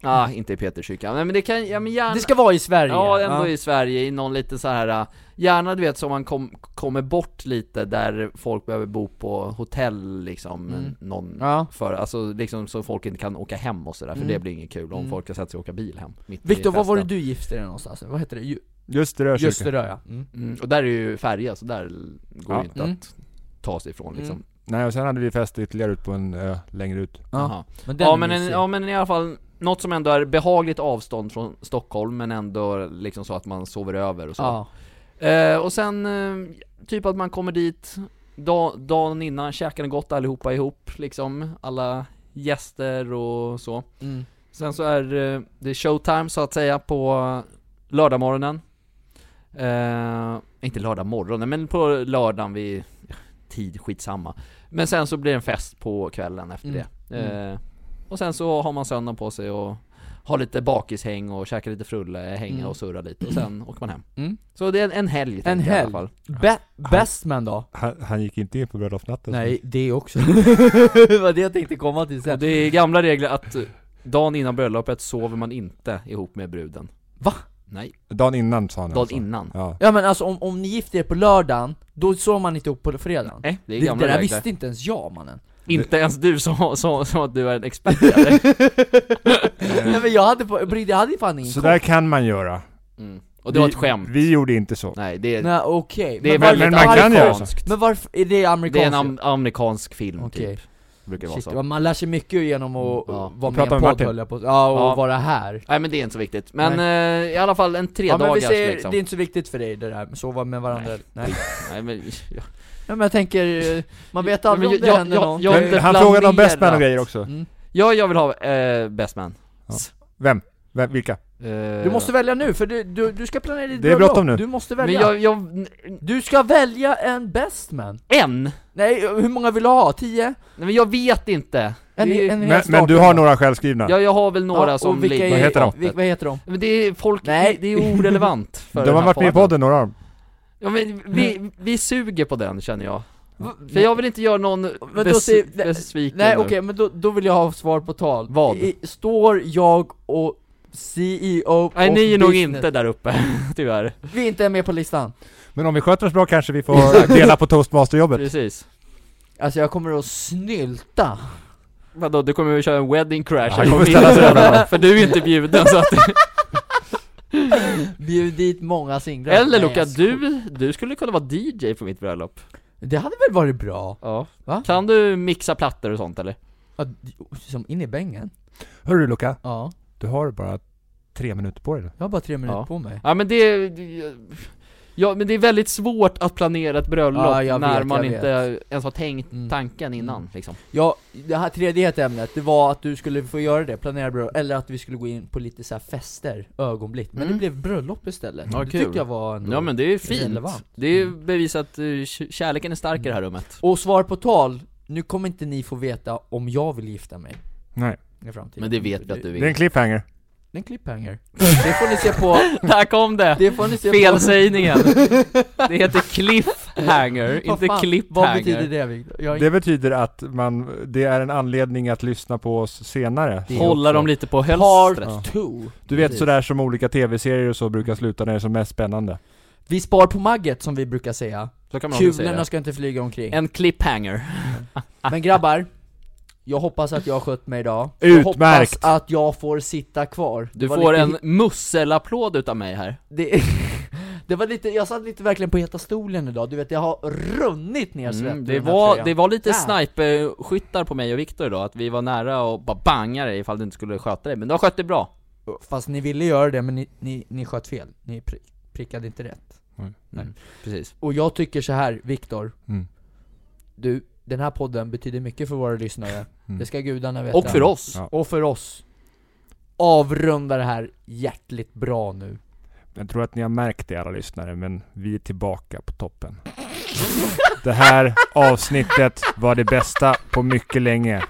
ah, inte i Peterskyrkan, nej men det kan, ja men gärna
Det ska vara i Sverige
Ja, ändå i Sverige, i någon lite så här äh, gärna du vet så man kom, kommer bort lite där folk behöver bo på hotell liksom,
Mm.
någon
Ja.
för, alltså liksom så folk inte kan åka hem och sådär, för
Mm.
det blir inget kul om
Mm.
folk ska sätta sig och åka bil hem mitt i
Viktor, vad var det
festen.
du gifte dig någonstans? Vad heter det? Ju-
Just det, Rökyrka.
Just det där ja. Mm.
Mm, och där är ju färja, så där går
Ja.
det inte
Mm.
att ta sig ifrån liksom.
Mm.
Nej, och sen hade vi fest ytterligare ut på en ö längre ut.
Ja,
Jaha.
men den
Ja,
är
men en,
mysig.
ja men i alla fall, något som ändå är behagligt avstånd från Stockholm men ändå liksom så att man sover över och så.
Ja.
Eh, och sen, eh, typ att man kommer dit dag, dagen innan, käkar något gott allihopa ihop liksom, alla gäster och så.
Mm.
Sen så är eh, det showtime så att säga på lördagmorgonen. Eh, inte lördagmorgonen, men på lördagen vid tid, skitsamma. Men sen så blir det en fest på kvällen efter
Mm.
det. Eh, och sen så har man söndagen på sig och ha lite bakishäng och käka lite frulle, hänga
Mm.
och surra lite och sen åker man hem.
Mm.
Så det är en, en helg tänker jag i alla
helg.
fall.
Be- Bestman då?
Han, han gick inte in på bröllopsnatten.
Nej, det också. (laughs) det var det jag tänkte komma till
Och
sen.
det är gamla regler att eh, dagen innan bröllopet sover man inte ihop med bruden.
Va?
Nej,
Dagen innan sa han
dagen
alltså.
innan.
Ja.
Ja men alltså om, om ni gifter er på lördagen, då såg man inte upp på fredagen.
Nej, det
Det,
är
det
gamla
där
regler.
visste inte ens jag
(laughs)
mannen.
Inte ens du som, som, som att du är
(laughs)
en expert eller?
Nej men jag hade på, jag hade fan ingen
Så där kan man göra.
mm. Och det var ett
Vi-
skämt.
Vi gjorde inte så.
Nej, det är,
Nej okej,
det är
men, var-
väl-
väldigt
men man kan göra så.
amerikanskt.
men varför, är det
Det är en
amerikanskt?
am- amerikansk film
Okej.
typ. Brukar vara
Shit,
så.
man lär sig mycket genom att
Mm, ja.
vara med i
Prata
en podd
med Martin.
höll jag på Ja och
Ja.
vara här
Nej men det är inte så viktigt. Men eh, i alla fall en tre
Ja men vi
dagars
säger,
liksom.
det är inte så viktigt för dig det där med sova med varandra Nej,
Nej, men, jag,
Ja, men jag tänker, eh, man vet
Men
aldrig
jag-
om det
jag-
händer
jag-
någon
jag- har
Men
inte
han frågade om
planerat.
best man och grejer också.
Mm.
jag, jag vill ha eh, Best Man.
Vem? Vem? Vilka?
Eh,
Du måste välja nu för du, du, du ska planera ditt
Det är
bröllop.
bråttom nu.
Du måste
men
välja
jag, jag,
Du ska välja en best man
en? Nej
Nej, hur många vill du ha? Tio?
men jag vet inte.
En,
Det
en
är-
hel
Men, men
start.
du har några självskrivna?
Jag, jag har väl några
Ja, och
som
vilka
ligger
är-
Vad heter de?
vil- Vad heter de?
Men det är folk,
Nej.
det är orelevant
(laughs)
för
De
den
har
här
varit med i podden, några av dem.
Ja men
Mm.
vi, vi suger på den känner jag.
Va-
För jag vill inte göra någon
då
bes,
säger- nej,
besviken
Nej
nu.
okej, men då, då vill jag ha svar på tal
Vad?
I, står jag och CEO
Nej
of
ni är nog
business-
inte där uppe, (laughs) tyvärr.
Vi inte är med på listan
Men om vi sköter oss bra kanske
(laughs)
vi får dela på toastmasterjobbet.
Precis.
Alltså jag kommer att snylta
Vadå, du kommer ju köra en wedding crash?
Han kommer
Jag
ställa sig
inte- (laughs)
överallt.
För du är inte bjuden så att,
Bjud dit många singlar (laughs)
Eller
Nej,
Luca,
jag sko-
du, du skulle kunna vara DJ på mitt bröllop
Det hade väl varit bra?
Ja
Va?
Kan du mixa plattor och sånt eller?
Ja, d- Som in i bängen?
Hörru Luca,
Ja,
du har bara tre minuter på dig.
jag har bara tre minuter
Ja.
på mig
Ja men det... Ja men det är väldigt svårt att planera ett bröllop
Ja, jag
när
vet,
man
jag
inte ens har tänkt
Mm.
tanken innan liksom
Ja, det här tredje heta ämnet, det var att du skulle få göra det, planera bröllop, eller att vi skulle gå in på lite så här fester, ögonblick Men
Mm.
det blev bröllop istället,
Ja,
det
kul.
tyckte jag var ändå Mm.
Ja men det är fint,
relevant.
det är ju bevisat uh, kärleken är stark i det här rummet
Och svar på tal, nu kommer inte ni få veta om jag vill gifta mig
Nej.
i framtiden
Men det vet vi att du
Det är en
vill
cliffhanger.
Det är en cliffhanger Det får ni se på,
Där kom det!
det får ni se på (laughs)
Felsägningen! Det heter cliffhanger,
Vad
inte
fan, Vad betyder
cliphanger
det Viktor? Jag har
Det betyder att man, det är en anledning att lyssna på oss senare.
Det är
Hålla dem lite på
Part
hölstret
Ja.
two.
Du vet
Precis.
sådär som olika tv-serier och så brukar sluta när det är som mest spännande.
Vi spar på magget som vi brukar säga,
Så kan man också säga
kulorna
det.
ska inte flyga omkring
En cliffhanger
Men grabbar, jag hoppas att jag har skött mig idag Jag
Utmärkt.
hoppas att jag får sitta kvar
Du
Det var
får
lite-
en musselapplåd utav mig här
det, (laughs) det var lite, jag satt lite verkligen på heta stolen idag, du vet jag har runnit ner svett
Mm,
ur
det,
den här
var,
tröjan.
det var lite
Där.
sniperskyttar på mig och Viktor idag, att vi var nära och bara bangar dig ifall du inte skulle sköta dig, men du har skött dig bra
Fast ni ville göra det men ni, ni, ni sköt fel, ni pri, prickade inte rätt
Precis
Och jag tycker så här, Viktor
Mm.
Du, den här podden betyder mycket för våra lyssnare,
Mm.
det ska gudarna veta
Och för oss!
Ja.
Och för oss Avrunda det här hjärtligt bra nu
Jag tror att ni har märkt det alla lyssnare, men vi är tillbaka på toppen. Det här avsnittet var det bästa på mycket länge.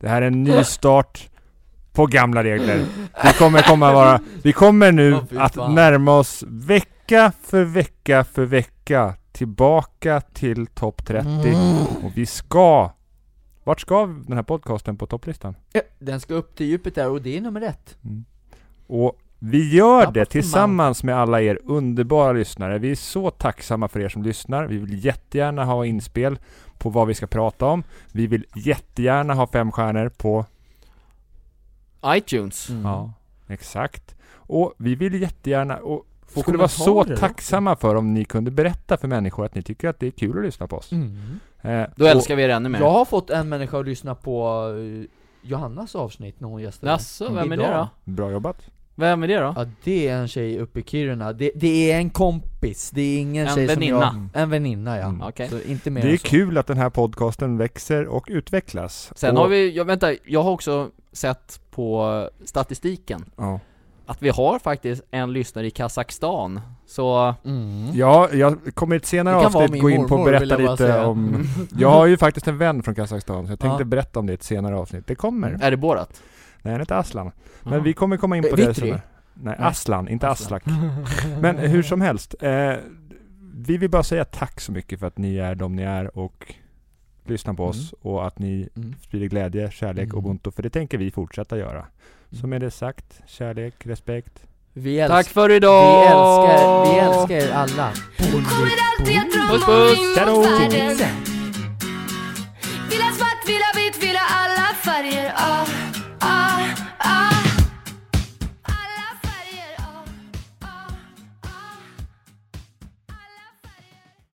Det här är en ny start på gamla regler. Vi kommer, komma vara, vi kommer nu
Åh, fy
att
fan.
närma oss vecka för vecka för vecka tillbaka till topp 30.
Mm.
Och vi ska... Vart ska den här podcasten på topplistan?
Ja, Den ska upp till Jupiter och det är nummer ett.
Och vi gör
Top
det
of the
tillsammans med alla er underbara lyssnare. Vi är så tacksamma för er som lyssnar. Vi vill jättegärna ha inspel på vad vi ska prata om. Vi vill jättegärna ha fem stjärnor på...
iTunes
Mm.
Ja, exakt. Och vi vill jättegärna... Och
Få
skulle vara så
kommentarer också.
tacksamma för om ni kunde berätta för människor att ni tycker att det är kul att lyssna på oss.
Mm.
Eh,
Då
och-
älskar vi er ännu mer
Jag har fått en människa att lyssna på eh, Johannas avsnitt när hon gästade.
Jaså, vem är det
Mm. Idag.
då?
Bra jobbat.
Vem är det då?
Ja, det är en tjej uppe i Kiruna. Det, det är en kompis, det är ingen
En
tjej
väninna.
som jag... En väninna. ja.
Mm.
Okej
Så inte mer
Det är
än så.
kul att den här podcasten växer och utvecklas.
Sen
och,
har vi, jag, vänta, jag har också sett på statistiken
Ja.
att vi har faktiskt en lyssnare i Kazakstan, så
Mm.
Ja, jag kommer i ett senare
Det kan vara
avsnitt
min
gå in på och
mormor,
berätta
vill jag bara
lite
säga. (laughs)
om... Jag har ju faktiskt en vän från Kazakstan, så jag tänkte
Ja. Mm.
berätta om det i ett senare avsnitt. Det kommer.
är det Borat?
Nej, han heter Aslan. Men vi kommer komma in på
Eh,
det
Vitry?
senare. Nej,
Nej.
Aslan, inte
Aslan. (laughs)
Aslak. Men hur som helst. Eh, vi vill bara säga tack så mycket för att ni är de ni är och lyssnar på oss och att ni
Mm.
sprider glädje, kärlek
Mm.
och ubuntu. För det tänker vi fortsätta göra. Så med det sagt, kärlek, respekt.
Vi älskar,
Tack för
vi
idag!
älskar, vi älskar er alla.
Kommer alltid att
Puss,
drömma
puss.
om
Hej då.
himmelsfärden Vill ha svart, vill ha vitt Ah, Ah,